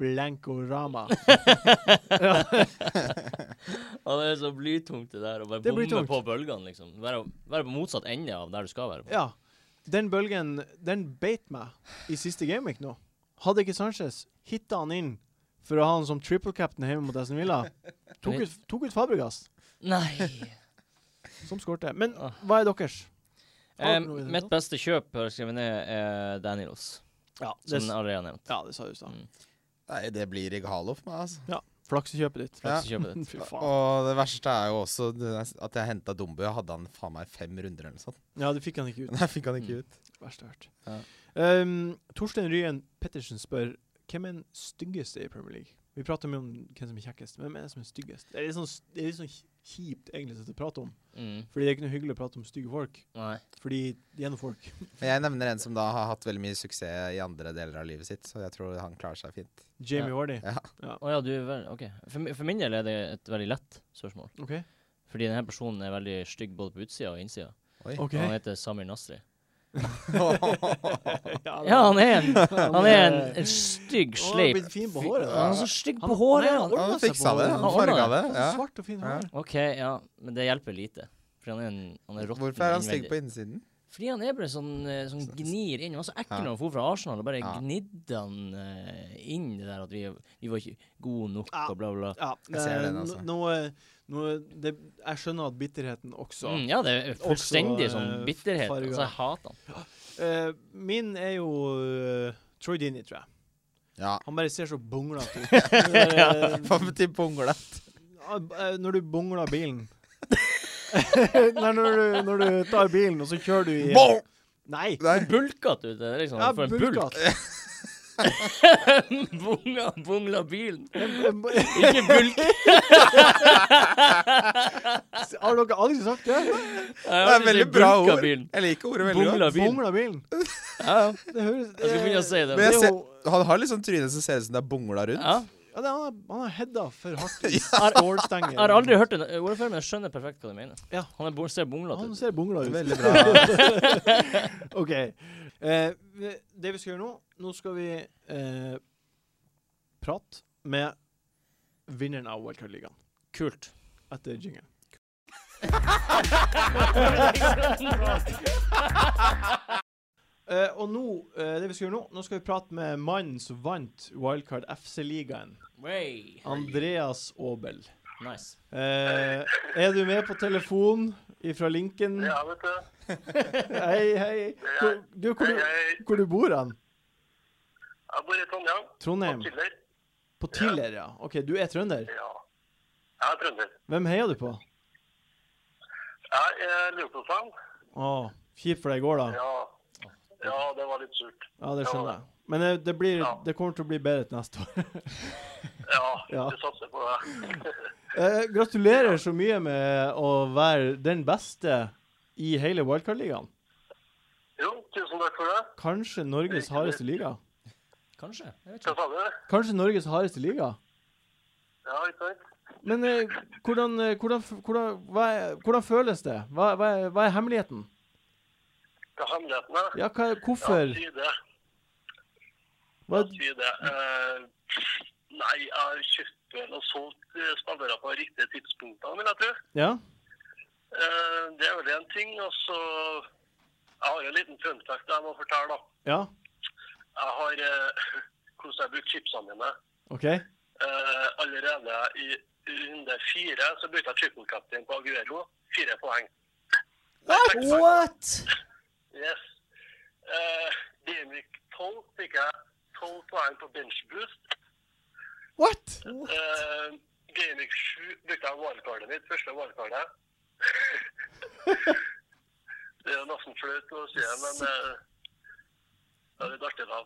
Speaker 1: Blanco Rama.
Speaker 2: Ja, det er så blytungt, det der. Å bare
Speaker 1: Det blir
Speaker 2: bomme
Speaker 1: tungt.
Speaker 2: på bølgene, liksom. Være, være på motsatt ende av der du skal være. på.
Speaker 1: Ja. Den bølgen, den beit meg i siste gameweek nå. Hadde ikke Sanchez hitta han inn for å ha han som triple captain hjemme mot Aston Villa, tok ut, tok ut Fabregas,
Speaker 2: Nei!
Speaker 1: som skårte. Men hva er deres? Har
Speaker 2: Eh,
Speaker 1: du noe i det hele
Speaker 2: mitt
Speaker 1: tatt?
Speaker 2: beste kjøp har jeg skrevet ned er Daniels,
Speaker 1: Ja, det,
Speaker 2: som
Speaker 1: s-
Speaker 2: Aria nevnte.
Speaker 1: ja, det sa du i stad.
Speaker 2: Mm.
Speaker 4: Nei, det blir Regalo for meg, altså.
Speaker 1: Ja. Flaksekjøpet ditt.
Speaker 4: Ja.
Speaker 2: Kjøpet ditt.
Speaker 1: Fy faen.
Speaker 4: Og det verste er jo også det er at jeg henta Dumbo. Jeg hadde han faen meg fem runder eller noe sånt.
Speaker 1: Ja, det fikk han ikke ut.
Speaker 4: Men jeg fikk han
Speaker 2: Mm.
Speaker 4: ikke ut.
Speaker 1: Verst jeg har hørt.
Speaker 4: Ja.
Speaker 1: Ehm, Torstein Ryen Pettersen spør hvem er den styggeste i Premier League? Vi prater mye om hvem som er kjekkest. men Hvem er det som er styggest? Det er litt sånn, det er litt sånn kjipt egentlig å prate om.
Speaker 2: Mm.
Speaker 1: Fordi det er ikke noe hyggelig å prate om stygge folk.
Speaker 2: Nei.
Speaker 1: Fordi de er noe folk.
Speaker 4: Men jeg nevner en som da har hatt veldig mye suksess i andre deler av livet sitt, så jeg tror han klarer seg fint.
Speaker 1: Jamie
Speaker 2: Ja.
Speaker 1: Wardy.
Speaker 4: Ja.
Speaker 2: Å ja, du er vel OK. For, mi- for min del er det et veldig lett spørsmål.
Speaker 1: OK.
Speaker 2: Fordi denne personen er veldig stygg både på utsida og innsida.
Speaker 4: Oi.
Speaker 1: ok.
Speaker 2: Og Han heter Samir Nasri.
Speaker 1: det-
Speaker 2: Ja, han er en, han er en,
Speaker 1: er-
Speaker 2: en stygg,
Speaker 1: Å, Han har
Speaker 2: sleip
Speaker 1: blitt fin på håret. da.
Speaker 2: Han er så stygg på håret!
Speaker 1: Nei,
Speaker 2: han.
Speaker 1: ordnet
Speaker 4: Han
Speaker 1: seg på
Speaker 4: fiksa det.
Speaker 1: håret.
Speaker 4: Han
Speaker 2: Han
Speaker 4: farga
Speaker 2: ordnet
Speaker 4: det.
Speaker 1: Han
Speaker 4: Ja.
Speaker 1: har Svart og fin
Speaker 4: Ja.
Speaker 1: hår.
Speaker 2: OK, ja, men det hjelper lite. Fordi han er, en, han er råtten
Speaker 4: Hvorfor er han stygg
Speaker 2: innvendig.
Speaker 4: på innsiden?
Speaker 2: Fordi han er bare sånn, eh, sånn gnir inn. Han var så ekkel
Speaker 4: Ja.
Speaker 2: når han for fra Arsenal, og bare
Speaker 4: Ja.
Speaker 2: gnidde han eh, inn det der at vi, vi var ikke gode nok
Speaker 1: Ja.
Speaker 2: og bla, bla.
Speaker 1: Ja,
Speaker 4: Jeg ser
Speaker 1: eh,
Speaker 4: den, altså.
Speaker 1: Nå, nå, nå, det, jeg skjønner at bitterheten også
Speaker 2: Mm, ja, det er fullstendig
Speaker 1: Også, eh,
Speaker 2: sånn bitterhet.
Speaker 1: farger.
Speaker 2: Altså, jeg hater han.
Speaker 1: Eh, Min er jo eh, Troy Dini, tror jeg.
Speaker 4: Ja.
Speaker 1: Han bare ser så bunglete ut. Eh,
Speaker 4: Faen til bungle.
Speaker 1: eh, Når du bungler bilen Nei, når du, når du tar bilen, og så kjører du i
Speaker 4: Bong!
Speaker 1: Nei!
Speaker 4: Nei.
Speaker 2: Bulkete ut, det er liksom.
Speaker 1: Ja,
Speaker 2: for en bulk.
Speaker 1: bulkat.
Speaker 2: Bunga, bungla bilen.
Speaker 1: Har
Speaker 2: Ikke bulk.
Speaker 1: dere aldri sagt det?
Speaker 4: Det er veldig bra ord. Jeg liker ordet veldig godt.
Speaker 2: Bungla bilen.
Speaker 1: Bungler bilen.
Speaker 2: Ja, ja.
Speaker 1: Det høres
Speaker 2: Jeg skal begynne å si det.
Speaker 4: Men jeg
Speaker 1: Det er
Speaker 4: ser,
Speaker 1: jo-
Speaker 4: han har litt sånn tryne som ser ut som det er bungla rundt.
Speaker 2: Ja.
Speaker 1: Ja, det, er- han, har- han har heada for hardt i
Speaker 2: Har-
Speaker 1: stålstenger.
Speaker 2: Jeg har aldri hørt det ordet før, men jeg skjønner perfekt hva du mener.
Speaker 1: Ja.
Speaker 2: Han er, bo- ser bunglete
Speaker 1: Han
Speaker 2: ut.
Speaker 1: ser bungla ut.
Speaker 4: Veldig bra.
Speaker 1: OK. Eh, vi- det vi skal gjøre nå Nå skal vi eh, prate med vinneren av Wildcard-ligaen
Speaker 2: Kult.
Speaker 1: etter jingeren. Eh, og nå, eh, det vi skal gjøre nå, nå skal vi prate med mannen som vant Wildcard FC-ligaen.
Speaker 2: Way.
Speaker 1: Andreas Aabel.
Speaker 2: Nice.
Speaker 1: Eh, er du med på telefon fra Linken?
Speaker 3: Ja, vet du.
Speaker 1: Hei, hei. Hvor, du, hvor,
Speaker 3: Jeg,
Speaker 1: du, hvor du bor han?
Speaker 3: jeg bor i Trondheim.
Speaker 1: Trondheim?
Speaker 3: Killer.
Speaker 1: På Tiller, ja. OK, du er trønder.
Speaker 3: Ja. Jeg er trønder.
Speaker 1: Hvem heier du på?
Speaker 3: Jeg er Liverpool-fan.
Speaker 1: Å, kjipt for deg i går, da.
Speaker 3: Ja. ja, det var litt surt.
Speaker 1: Ja, det skjønner jeg. Men det, det, blir, det kommer til å bli bedre til neste år.
Speaker 3: Ja,
Speaker 1: Ja.
Speaker 3: du satser på det.
Speaker 1: Eh, gratulerer så mye med å være den beste i hele Wildcard-ligaen.
Speaker 3: Jo, tusen takk for det.
Speaker 1: Kanskje Norges hardeste liga?
Speaker 2: Kanskje. Jeg vet
Speaker 3: Hva
Speaker 2: ikke.
Speaker 3: sa du?
Speaker 1: Kanskje Norges hardeste liga?
Speaker 3: Ja, ikke sant?
Speaker 1: Men eh, hvordan, eh, hvordan, f- hvordan, hva er, hvordan føles det? Hva, hva, er, hva er hemmeligheten?
Speaker 3: Hva er hemmeligheten er?
Speaker 1: Ja, hva, hvorfor?
Speaker 3: si det.
Speaker 1: Hva,
Speaker 3: Si det. Eh, nei, jeg har kjøpt vel og solgt eh, spillere på riktige tidspunkter, vil jeg tro.
Speaker 1: ja?
Speaker 3: Eh, det er vel en ting. Og så Jeg har jo en liten fun fact jeg må fortelle, da.
Speaker 1: Ja?
Speaker 3: Jeg har eh, hvordan jeg bruker chipsene mine.
Speaker 1: OK?
Speaker 3: Eh, allerede i runde fire så brukte jeg triple captain på Aguero. Fire poeng.
Speaker 2: What?
Speaker 3: Yes. Eh, Gameweek 12 fikk jeg tolv poeng på bench boost.
Speaker 1: What?!
Speaker 3: Eh, Gameweek 7 brukte jeg wildcardet mitt, første wildcardet. det er jo nesten flaut å si det, men eh, det er litt artig, da.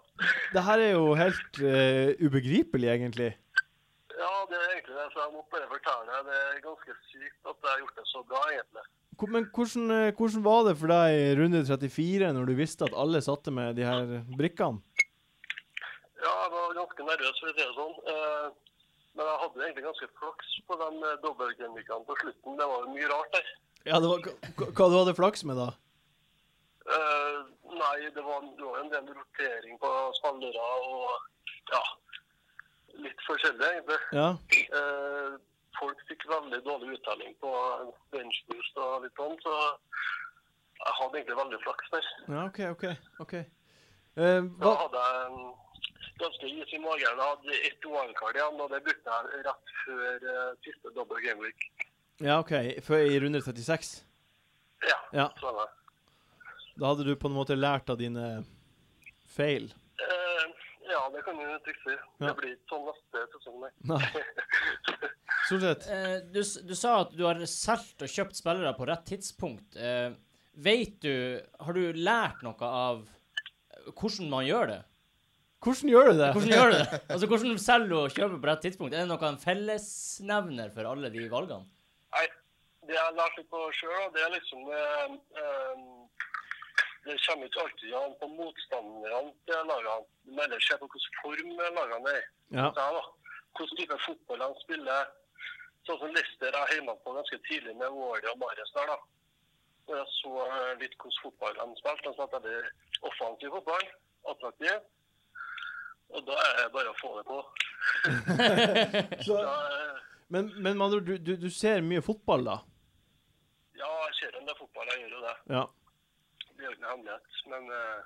Speaker 1: Det her er jo helt eh, ubegripelig, egentlig.
Speaker 3: Ja, det er egentlig det. Så jeg måtte bare fortelle deg. Det er ganske sykt at jeg har gjort det så bra, egentlig.
Speaker 1: Hvor- Men hvordan, eh, hvordan var det for deg i runde 34, når du visste at alle satte med de her brikkene?
Speaker 3: Ja, jeg var ganske nervøs, for å si det sånn. Eh, Men jeg hadde egentlig ganske flaks på de dobbeltgenvikene på slutten. Det var jo mye rart der.
Speaker 1: Ja, det var, hva, hva du hadde flaks med, da?
Speaker 3: Eh, Nei, det var, det var en del rotering på spillere og ja, litt forskjellig, egentlig.
Speaker 1: Ja.
Speaker 3: Eh, folk fikk veldig dårlig uttelling på benchboost og litt sånn, så jeg hadde egentlig veldig flaks der.
Speaker 1: ja OK, OK. ok. Eh,
Speaker 3: Da
Speaker 1: hva,
Speaker 3: hadde jeg mm, ganske is i magen. Jeg hadde ett wildcard igjen, og det brukte jeg rett før eh, siste double game week.
Speaker 1: ja, OK. Før i runde 36?
Speaker 3: Ja,
Speaker 1: Ja.
Speaker 3: stemmer.
Speaker 1: Da hadde du på en måte lært av dine feil?
Speaker 3: Eh, ja, det kan du trygt si.
Speaker 1: Ja.
Speaker 3: Det blir ikke sånn neste sesong, nei.
Speaker 1: Nei. Stort sett.
Speaker 2: Eh, du, s- du sa at du har solgt og kjøpt spillere på rett tidspunkt. Eh, vet du Har du lært noe av hvordan man gjør det?
Speaker 1: Hvordan gjør du det?
Speaker 2: Hvordan gjør du det? Altså, hvordan selger og kjøper på rett tidspunkt? Er det noe en fellesnevner for alle de valgene?
Speaker 3: Nei, det jeg lærer seg på sjøl, det er liksom eh, eh, Det kommer ikke alltid an på motstanderne til lagene, men heller se på hvilken form lagene er i.
Speaker 1: Ja.
Speaker 3: Der, da. Hvilken type fotball de spiller. Sånn som Leicester er hjemme på ganske tidlig med Warley og Marius der, da. Og jeg så eh, litt hvordan fotball de spilte. De spilte veldig offensiv fotball. Attraktiv. Og da er det bare å få det på.
Speaker 1: Så,
Speaker 3: Da, eh,
Speaker 1: men men med andre ord, du, du, du ser mye fotball, da?
Speaker 3: ja, jeg ser en del fotball, jeg gjør jo det.
Speaker 1: Ja.
Speaker 3: Det er jo ikke noe hemmelighet. Men eh,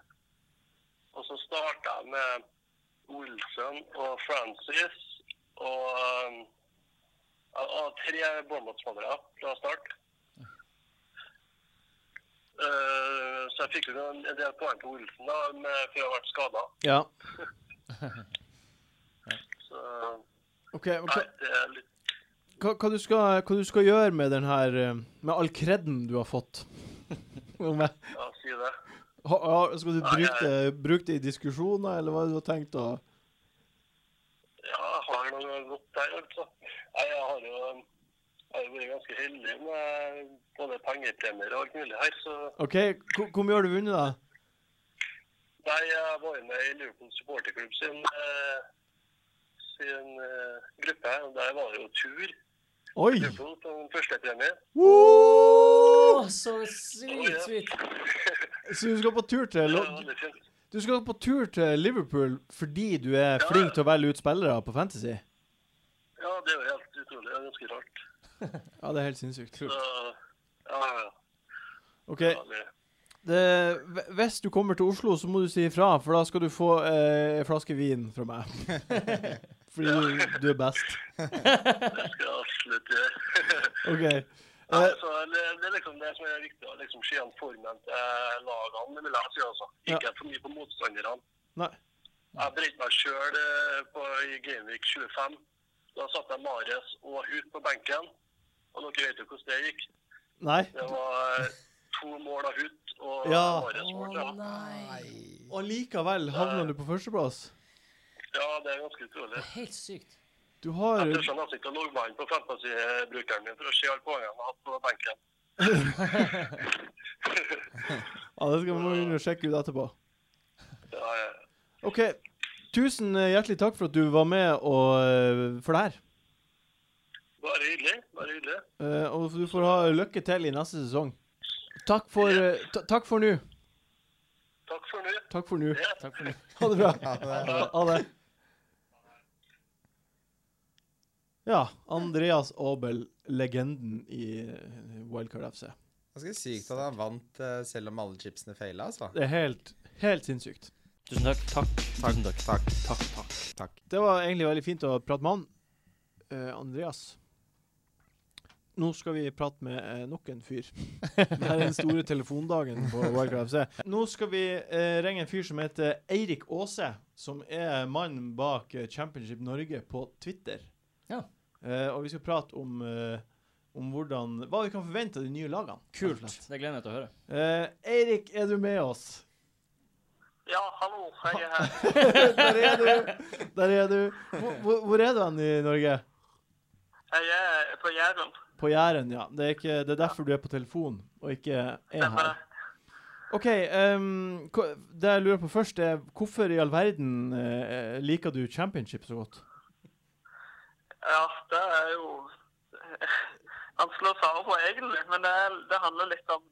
Speaker 3: Og så starta jeg med Wilson og Francis og eh, ja, og tre Bournemouth-spillere fra start. Eh, så jeg fikk jo en en del poeng på Wilson da, med, før jeg ble skada.
Speaker 1: ja.
Speaker 3: Så
Speaker 1: OK. men
Speaker 3: nei,
Speaker 1: Hva,
Speaker 3: det er litt
Speaker 1: hva, hva, du skal, hva du skal gjøre med den her eh, Med all kreden du har fått? Om jeg-
Speaker 3: ja, å si det.
Speaker 1: Ha, ha, skal du
Speaker 3: Nei,
Speaker 1: bruke det, bruke det i diskusjoner, eller hva har du tenkt å
Speaker 3: Ja, jeg har noe godt der, altså. Nei, Jeg har jo jeg har jo vært ganske heldig med både pengepremier og alt mulig her, så
Speaker 1: OK, hvor hvor mye har du vunnet, da?
Speaker 3: Nei, jeg var med i Liverpool supporterklubb sin, eh, sin eh, gruppe. og Der var det jo tur.
Speaker 1: Oi!
Speaker 3: Liverpool som førstepremie.
Speaker 1: Woo!
Speaker 2: Å, så sweet, sweet.
Speaker 1: Så du skal på tur til
Speaker 3: Det
Speaker 1: Lo-
Speaker 3: var veldig fint.
Speaker 1: Du skal på tur til Liverpool fordi du er flink til å velge ut spillere på Fantasy?
Speaker 3: Ja, det var helt utrolig. Det var ganske rart.
Speaker 1: Ja, det er helt sinnssykt.
Speaker 3: Så, ja, ja,
Speaker 1: OK,
Speaker 3: det var det.
Speaker 1: det, hv- hvis du kommer til Oslo, så må du si ifra, for da skal du få eh, ei flaske vin fra meg. Fordi du, du er best.
Speaker 3: Det skal jeg absolutt gjøre.
Speaker 1: OK.
Speaker 3: Nei,
Speaker 1: Eh,
Speaker 3: så det, det er liksom det som er viktig, å liksom se an formen til lagene. Det vil jeg si, altså. Ikke for mye på motstanderne.
Speaker 1: nei.
Speaker 3: Jeg brente meg sjøl i Gameweek 25. Da satte jeg Mares og Hut på benken. Og dere vet jo hvordan det gikk.
Speaker 1: Nei.
Speaker 3: Det var eh, to mål av Hut og
Speaker 1: Ja.
Speaker 3: Mares mål.
Speaker 2: Å,
Speaker 3: Ja.
Speaker 2: nei.
Speaker 1: Og likevel havner du på førsteplass.
Speaker 3: ja, det er ganske utrolig.
Speaker 2: Helt sykt.
Speaker 1: Du har
Speaker 3: Jeg tør nesten ikke å logge meg inn på fantasy-brukeren min for å se alle poengene jeg har hatt på benken.
Speaker 1: Ja, det skal vi må sjekke ut etterpå.
Speaker 3: Ja, ja.
Speaker 1: OK. Tusen eh, hjertelig takk for at du var med og, eh, for det her.
Speaker 3: Bare hyggelig. Bare hyggelig.
Speaker 1: Eh, og du får ha lykke til i neste sesong. Takk for, eh, ta- takk for nå.
Speaker 3: Takk for nå.
Speaker 1: Takk for nå.
Speaker 3: Ja.
Speaker 2: Takk for det.
Speaker 1: Ha det bra. Ha det. Ja, Andreas Aabel, legenden i eh, Wildcard FC.
Speaker 4: Ganske sykt at han vant eh, selv om alle chipsene feila, altså.
Speaker 1: Det er helt, helt sinnssykt.
Speaker 2: Tusen takk. Takk. Tusen takk.
Speaker 4: Takk, takk, takk. takk.
Speaker 1: Det var egentlig veldig fint å prate med han. Eh, Andreas. Nå skal vi prate med eh, nok en fyr. Det er den store telefondagen på Wildcard FC. Nå skal vi eh, ringe en fyr som heter Eirik Aase, som er mannen bak eh, Championship Norge på Twitter.
Speaker 2: Ja.
Speaker 1: Eh, og vi skal prate om, eh, om hvordan, hva vi kan forvente av de nye lagene. rett og
Speaker 2: Kult.
Speaker 1: slett.
Speaker 2: Det gleder jeg meg til å høre.
Speaker 1: Eh, Eirik, er du med oss?
Speaker 3: ja, hallo. Jeg er her.
Speaker 1: Der er du! Der er du. Hvor, hvor, hvor er du hen i Norge?
Speaker 3: Jeg er på Jæren.
Speaker 1: På Jæren, ja. Det er, ikke, det er derfor du er på telefon, og ikke er
Speaker 3: Stemmer
Speaker 1: her.
Speaker 3: det.
Speaker 1: OK, ehm, hva- det jeg lurer på først, er hvorfor i all verden eh, liker du championship så godt?
Speaker 3: Ja, det er jo Han slår svar på egentlig, men det, er, det handler litt om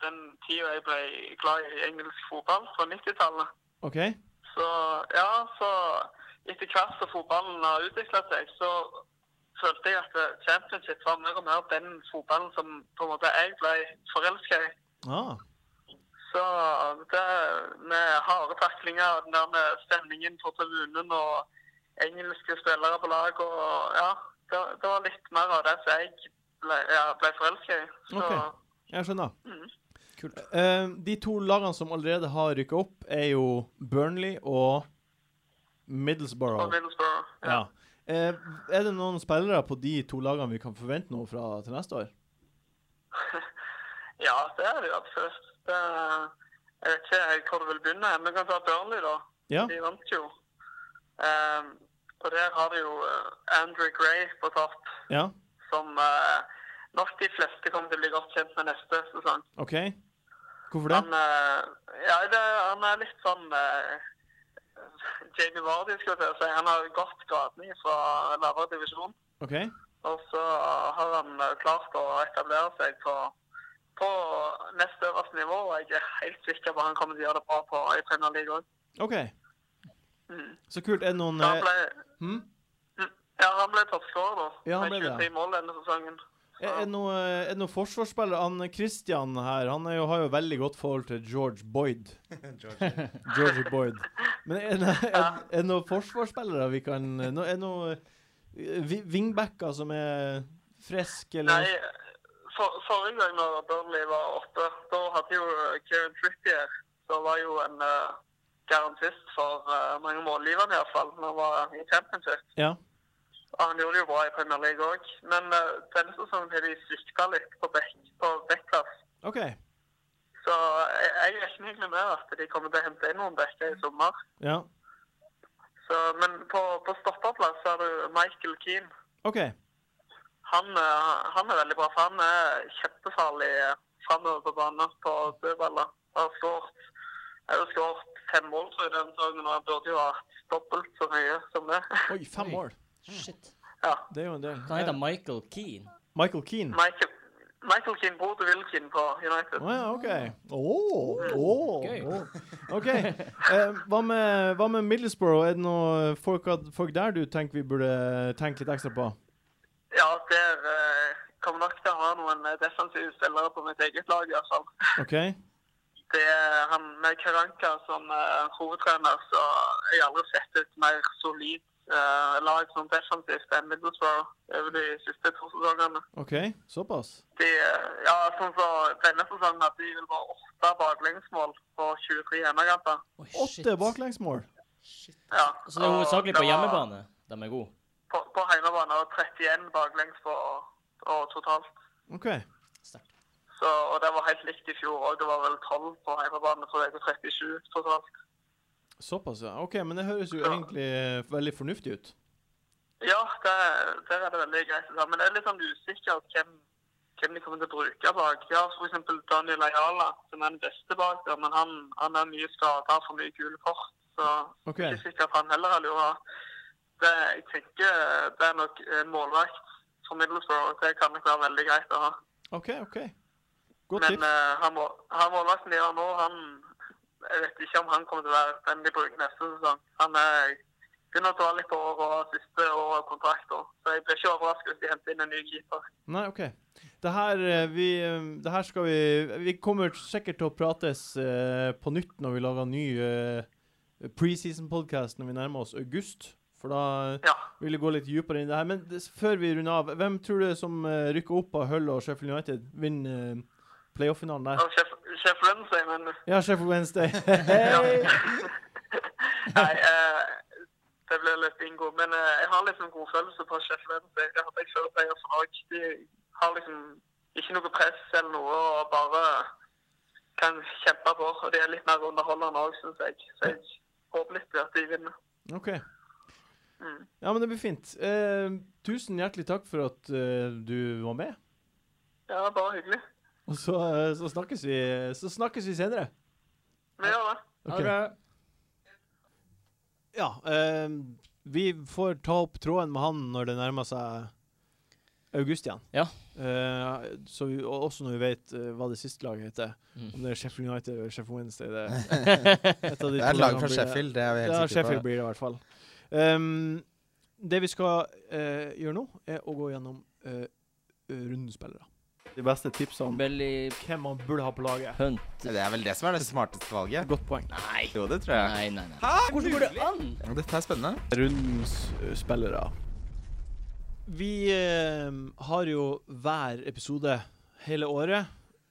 Speaker 3: den tida jeg ble glad i engelsk fotball på 90-tallet.
Speaker 1: OK?
Speaker 3: Så ja, så etter hvert som fotballen har utvikla seg, så følte jeg at championship var mer og mer den fotballen som på en måte jeg ble forelska i.
Speaker 1: Ah.
Speaker 3: Så det med harde taklinger, den der med stemningen på tribunen og engelske spillere på lag og ja, det, det var litt mer av det som jeg ble, ja, ble forelska i. Så
Speaker 1: Ok. Jeg skjønner.
Speaker 3: Mm.
Speaker 2: Kult.
Speaker 1: Eh, de to lagene som allerede har rykka opp, er jo Burnley og
Speaker 3: og
Speaker 1: Middlesbrough.
Speaker 3: Middlesbrough. Ja.
Speaker 1: Ja. Eh, er det noen spillere på de to lagene vi kan forvente noe fra til neste år?
Speaker 3: ja, det er det jo absolutt. Det, jeg vet ikke helt hvor det vil begynne. Vi kan ta Burnley, da.
Speaker 1: Ja.
Speaker 3: De vant jo. Ehm, og der har vi jo eh, Andrew Gray på topp,
Speaker 1: Ja?
Speaker 3: som eh, nok de fleste kommer til å bli godt kjent med neste sesong.
Speaker 1: OK? Hvorfor det?
Speaker 3: Han, eh, ja, det, han er litt sånn eh, Jamie Vardy, skal jeg til å si. Han har gått gradene fra lavere divisjon.
Speaker 1: OK?
Speaker 3: Og så har han eh, klart å etablere seg på, på nest øverste nivå. Og jeg er helt sikker på at han kommer til å gjøre det bra på i Premier League òg.
Speaker 1: OK. Så kult. Er det noen
Speaker 3: Han
Speaker 1: eh,
Speaker 3: Mm. ble,
Speaker 1: hm?
Speaker 3: ja, han ble toppskårer, da.
Speaker 1: Ja, han
Speaker 3: med
Speaker 1: ble det,
Speaker 3: 23 mål denne sesongen.
Speaker 1: Er er det noe, er det noe forsvarsspiller? Han eh, Christian her han er jo, har jo veldig godt forhold til George Boyd. George Boyd. Men er det, er, er det noen forsvarsspillere vi kan no, Er det noen eh, vi- wingbacker som er friske, eller
Speaker 3: Nei, for, forrige gang når Burnley var oppe, da hadde jo eh, Kieran Trippier Så var jo en eh, garantist for eh, mange målgiverne iallfall når han var i championship.
Speaker 1: Ja.
Speaker 3: Og han gjorde det jo bra i Premier League òg. Men eh, denne sesongen har de svikta litt på bekk- på backplass.
Speaker 1: OK.
Speaker 3: Så jeg, jeg regner egentlig med at de kommer til å hente inn noen bekker i sommer.
Speaker 1: Ja.
Speaker 3: Så, men på, på stopperplass har du Michael Keane.
Speaker 1: OK.
Speaker 3: Han, eh, han er veldig bra, for han er kjempefarlig framover på banen på dødballer. Har skåret jeg har skåret fem mål tror jeg, den dagen, og han burde jo ha hatt dobbelt så mye som det.
Speaker 1: Oi, fem
Speaker 2: Oi.
Speaker 1: mål.
Speaker 2: Shit.
Speaker 3: Ja.
Speaker 1: Det er jo en del.
Speaker 2: Han heter
Speaker 1: Eh,
Speaker 2: Michael Keane.
Speaker 1: Michael Keane.
Speaker 3: Michael, Michael Keane bor til Wilkin på United.
Speaker 1: Å ja, OK. Åh, åh,
Speaker 2: Gøy.
Speaker 1: åh. OK. Eh, hva, med, hva med Middlesbrough? Er det noe folk, at- folk der du tenker vi burde tenke litt ekstra på?
Speaker 3: Ja, der eh, kommer nok til å ha noen eh, defensive spillere på mitt eget lag, i hvert fall.
Speaker 1: OK?
Speaker 3: Det er han med Karanka som eh, hovedtrener, så jeg har aldri sett et mer solid eh, lag som defensivt enn Middlesbrough over de siste to sesongene.
Speaker 1: OK, såpass.
Speaker 3: de, ja, sånn så denne sesongen hadde de vel bare åtte baklengsmål på 23 hjemmekamper.
Speaker 2: Oi, shit.
Speaker 1: Åtte baklengsmål.
Speaker 3: Ja.
Speaker 2: Så det er
Speaker 3: og
Speaker 2: hovedsakelig
Speaker 3: det
Speaker 2: på
Speaker 3: var-
Speaker 2: hjemmebane de er gode.
Speaker 3: På, på hjemmebane og 31 baklengs på og totalt.
Speaker 1: OK.
Speaker 3: Så, og det var helt likt i fjor òg. Det var vel 12 på hjemmebane, så det er jo 37 totalt.
Speaker 1: Såpass, ja. OK, men det høres jo
Speaker 3: Ja.
Speaker 1: egentlig eh, veldig fornuftig ut.
Speaker 3: Ja, det, der er det veldig greit. å ta, Men det er litt sånn usikkert hvem, hvem de kommer til å bruke bak. Ja, for eksempel Daniel Ayala, som er den beste bak der, men han, han er mye skada for mye gule kort. Så
Speaker 1: OK.
Speaker 3: Ikke sikkert han heller er lura. Det, jeg tenker eh, det er nok en målvakt for Middlesbrough. Det kan nok være veldig greit å ha.
Speaker 1: OK. ok. Godt
Speaker 3: Men
Speaker 1: tips.
Speaker 3: eh, han, må, han målvakten de har nå, han Jeg vet ikke om han kommer til å være den de bruker neste sesong. Han er, begynner å ta litt på året og har siste år av kontrakt. også. Så jeg blir ikke overrasket hvis de henter inn en ny keeper.
Speaker 1: Nei, OK. Det her, eh, vi, eh, det her skal vi Vi kommer sikkert til å prates eh, på nytt når vi lager ny eh, preseason-podkast når vi nærmer oss august. For da
Speaker 3: Ja.
Speaker 1: vil vi gå litt dypere inn i det her. Men det, før vi runder av, hvem tror du som eh, rykker opp av Hull og Sheffield United, vinner eh, playoff-finalen der?
Speaker 3: Og Chef, Chef Lindsay, men
Speaker 1: Ja, Sheffield Wednesday. Hei!
Speaker 3: Nei, eh, det ble litt bingo. Men eh, jeg har liksom god følelse på Sheffield. Det det hadde jeg før Player for Norge. De har liksom ikke noe press eller noe, og bare kan kjempe på. Og de er litt mer underholdende òg, syns jeg. Så jeg håper litt at de vinner.
Speaker 1: OK.
Speaker 5: Mm.
Speaker 1: Ja, men det blir fint. Eh, tusen hjertelig takk for at eh, du var med.
Speaker 5: Ja, bare hyggelig.
Speaker 1: Og så, eh, så, snakkes, vi, så snakkes vi senere.
Speaker 5: Men ja da.
Speaker 2: Ha det bra.
Speaker 1: Ja. eh, vi får ta opp tråden med han når det nærmer seg august igjen.
Speaker 2: Ja.
Speaker 1: Eh, så vi, og også når vi vet eh, hva det siste laget heter.
Speaker 2: Mm.
Speaker 1: Om det er Sheffield United eller Sheffield Wednesday. Det, er et av de
Speaker 4: Det
Speaker 1: to
Speaker 4: er et lag
Speaker 1: lagene
Speaker 4: fra
Speaker 1: blir det.
Speaker 4: Sheffield, det er vi helt
Speaker 1: Ja,
Speaker 4: sikre
Speaker 1: Sheffield
Speaker 4: på.
Speaker 1: blir det i hvert fall. Ehm, det vi skal eh, gjøre nå, er å gå gjennom eh, rundespillere. De beste tipsene om
Speaker 2: Belly
Speaker 1: hvem man burde ha på laget.
Speaker 2: Hunt.
Speaker 4: Det er vel det som er det smarteste valget.
Speaker 1: Godt poeng.
Speaker 2: Nei.
Speaker 4: Jo, det tror jeg.
Speaker 2: Nei, nei, nei. Hvordan går det an?
Speaker 4: Dette er spennende.
Speaker 1: Rundens eh, spillere. Vi eh, har jo hver episode hele året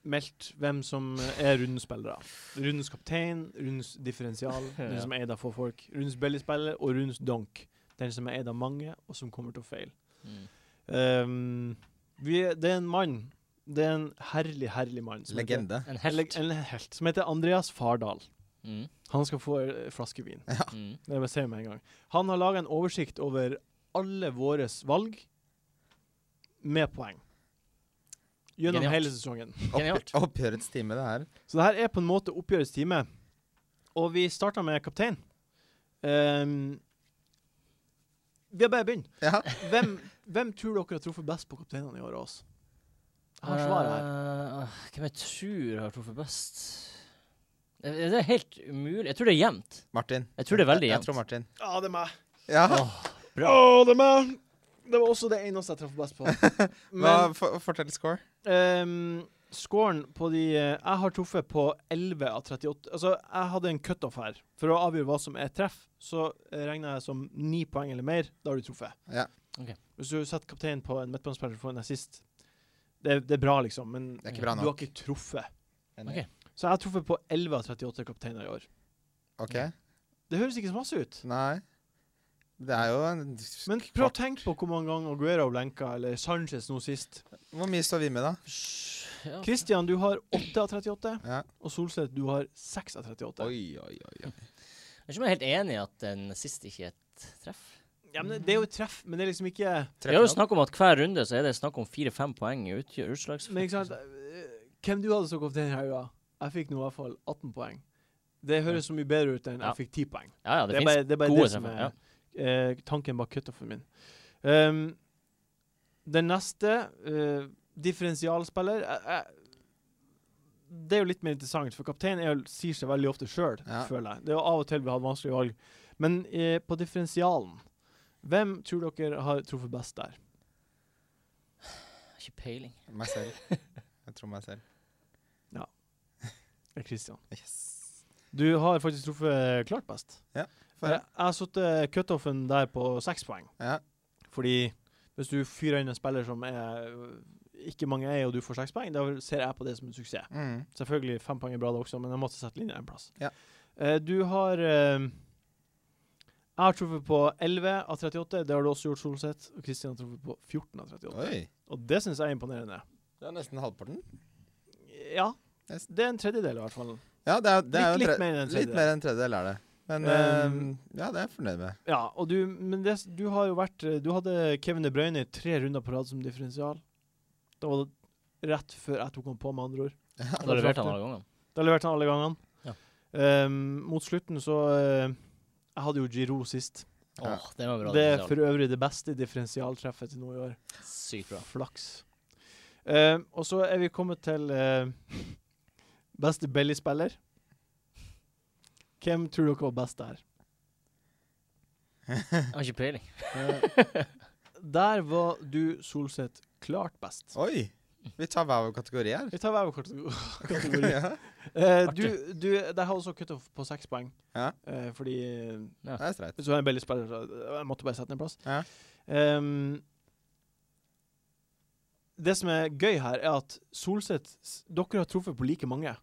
Speaker 1: meldt hvem som er rundens spillere. Rundens kaptein, rundens differensial, den som er eid av få folk, rundens bellyspiller og rundens donk. Den som er eid av mange, og som kommer til å feile.
Speaker 2: Mm.
Speaker 1: Ehm, vi, det er en mann. Det er en herlig, herlig mann. som heter-
Speaker 4: Legende.
Speaker 2: En
Speaker 1: En,
Speaker 2: helt.
Speaker 1: leg- en helt. Som heter Andreas Fardal.
Speaker 2: Mm.
Speaker 1: Han skal få ei flaske vin.
Speaker 2: Mm.
Speaker 1: Det vil jeg si med en gang. Han har laga en oversikt over alle våre valg med poeng. Gjennom
Speaker 2: Genialt.
Speaker 1: hele sesongen.
Speaker 2: Genialt.
Speaker 4: Opp, oppgjørets time, det her.
Speaker 1: Så det her er på en måte oppgjørets time. Og vi starta med kaptein. Ehm, vi har bare begynt.
Speaker 4: Ja.
Speaker 1: Hvem, hvem tror dere har truffet best på kapteinene i år av oss? Jeg har svaret her.
Speaker 2: Eh, hvem jeg tror har truffet best? Det, det er helt umulig. Jeg tror det er jevnt.
Speaker 4: Martin.
Speaker 2: Jeg tror det er veldig
Speaker 4: Jeg
Speaker 2: jevnt.
Speaker 4: tror Martin.
Speaker 1: Ja, det er meg.
Speaker 4: Ja.
Speaker 1: Å, det er meg! Det var også det eneste jeg traff best på.
Speaker 4: Hva,
Speaker 1: Men
Speaker 4: for, fortell score.
Speaker 1: ehm, scoren på de eh, Jeg har truffet på 11 av 38. Altså, jeg hadde en cutoff her. For å avgjøre hva som er treff, så eh, regner jeg som 9 poeng eller mer. Da har du truffet.
Speaker 4: Ja.
Speaker 2: Ok.
Speaker 1: Hvis du setter kapteinen på en midtbanespiller for en assist, det, er- det er bra, liksom, men
Speaker 4: Det er ikke bra
Speaker 1: du har
Speaker 4: nok.
Speaker 1: ikke truffet.
Speaker 2: Ok.
Speaker 1: Så jeg har truffet på 11 av 38 kapteiner i år.
Speaker 4: OK.
Speaker 1: Det høres ikke så masse ut.
Speaker 4: Nei. Det er jo en
Speaker 1: Men prøv å tenke på hvor mange ganger Aguero blenka, eller Sanchez nå sist.
Speaker 4: Hvor mye står vi med, da?
Speaker 2: Ja.
Speaker 1: Christian, du har 8 av 38,
Speaker 4: Ja.
Speaker 1: og Solseth, du har 6 av 38.
Speaker 4: oi, oi.
Speaker 2: Jeg er ikke om jeg er helt enig i at den siste ikke er et treff.
Speaker 1: Ja, men det er jo et treff, men det er liksom ikke
Speaker 2: Vi har jo snakk om at hver runde så er det snakk om fire-fem poeng i utgjø- utslags...
Speaker 1: Men ikke sant, eh, hvem du hadde som kaptein i helga? Jeg fikk nå i hvert fall 18 poeng. Det høres så mye bedre ut enn
Speaker 2: Ja.
Speaker 1: jeg fikk 10 poeng.
Speaker 2: Ja, ja, det,
Speaker 1: Det er
Speaker 2: finnes
Speaker 1: bare det, er bare
Speaker 2: gode
Speaker 1: det som er
Speaker 2: treffer,
Speaker 1: eh, tanken bak cutoffen min. Um, den neste, eh, differensialspiller jeg- jeg- Det er jo litt mer interessant, for kaptein er, jo- sier seg veldig ofte sjøl,
Speaker 4: Ja.
Speaker 1: føler jeg. Det er jo av og til vi har vanskelige valg. Men eh, på differensialen, hvem tror dere har truffet best der?
Speaker 2: Ikke peiling.
Speaker 4: Meg selv. Jeg tror meg selv.
Speaker 1: Eh, Christian.
Speaker 4: Yes.
Speaker 1: Du har faktisk truffet klart best.
Speaker 4: Ja,
Speaker 1: Eh,
Speaker 4: får
Speaker 1: Jeg
Speaker 4: jeg.
Speaker 1: har satt eh, cutoffen der på seks poeng.
Speaker 4: Ja.
Speaker 1: Fordi hvis du fyrer inn en spiller som er, eh, ikke mange er, og du får seks poeng, da ser jeg på det som en suksess.
Speaker 4: Mm.
Speaker 1: Selvfølgelig fem poeng er bra, det også, men jeg måtte sette linja en plass.
Speaker 4: Ja.
Speaker 1: Eh, du har eh, Jeg har truffet på 11 av 38. Det har du også gjort, Solseth. Og Kristian har truffet på 14 av 38.
Speaker 4: Oi.
Speaker 1: Og det syns jeg er imponerende.
Speaker 4: Det er nesten halvparten.
Speaker 1: Ja.
Speaker 4: Nesten.
Speaker 1: Det er en tredjedel, i hvert fall.
Speaker 4: Ja, det er, det er
Speaker 1: Litt-
Speaker 4: jo en
Speaker 1: litt
Speaker 4: tre-
Speaker 1: mer enn en
Speaker 4: Litt
Speaker 1: tredjedel.
Speaker 4: mer enn en tredjedel er det. Men
Speaker 1: Um,
Speaker 4: eh, ja, det er jeg fornøyd med.
Speaker 1: Ja, og du, men det, du har jo vært eh, Du hadde Kevin De Bruyne i tre runder på rad som differensial. Det var rett før jeg tok han på, med andre ord.
Speaker 2: Da leverte han alle gangene.
Speaker 1: Da leverte han alle gangene.
Speaker 2: Ja.
Speaker 1: Ehm, mot slutten så eh, Jeg hadde jo Giroud sist.
Speaker 4: Ja.
Speaker 2: Åh, det var bra.
Speaker 1: Det er
Speaker 2: Christian.
Speaker 1: for øvrig det beste differensialtreffet til nå i år.
Speaker 2: Sykt bra.
Speaker 1: Flaks. Ehm, og så er vi kommet til eh, beste bellyspiller. Hvem tror dere var best der?
Speaker 2: Jeg har ikke peiling.
Speaker 1: Eh, Der var du, Solseth, klart best.
Speaker 4: Oi! Vi tar hver vår kategori her.
Speaker 1: Vi tar hver vår kategori. kategori.
Speaker 4: ja.
Speaker 1: Eh, du, du, der har også kutta på seks poeng.
Speaker 4: Ja.
Speaker 1: Eh, fordi
Speaker 4: Det er streit.
Speaker 1: Hvis du har en billig spiller, så jeg måtte bare sette den en plass.
Speaker 4: Ja.
Speaker 1: Ehm, det som er gøy her, er at Solseth s- Dere har truffet på like mange,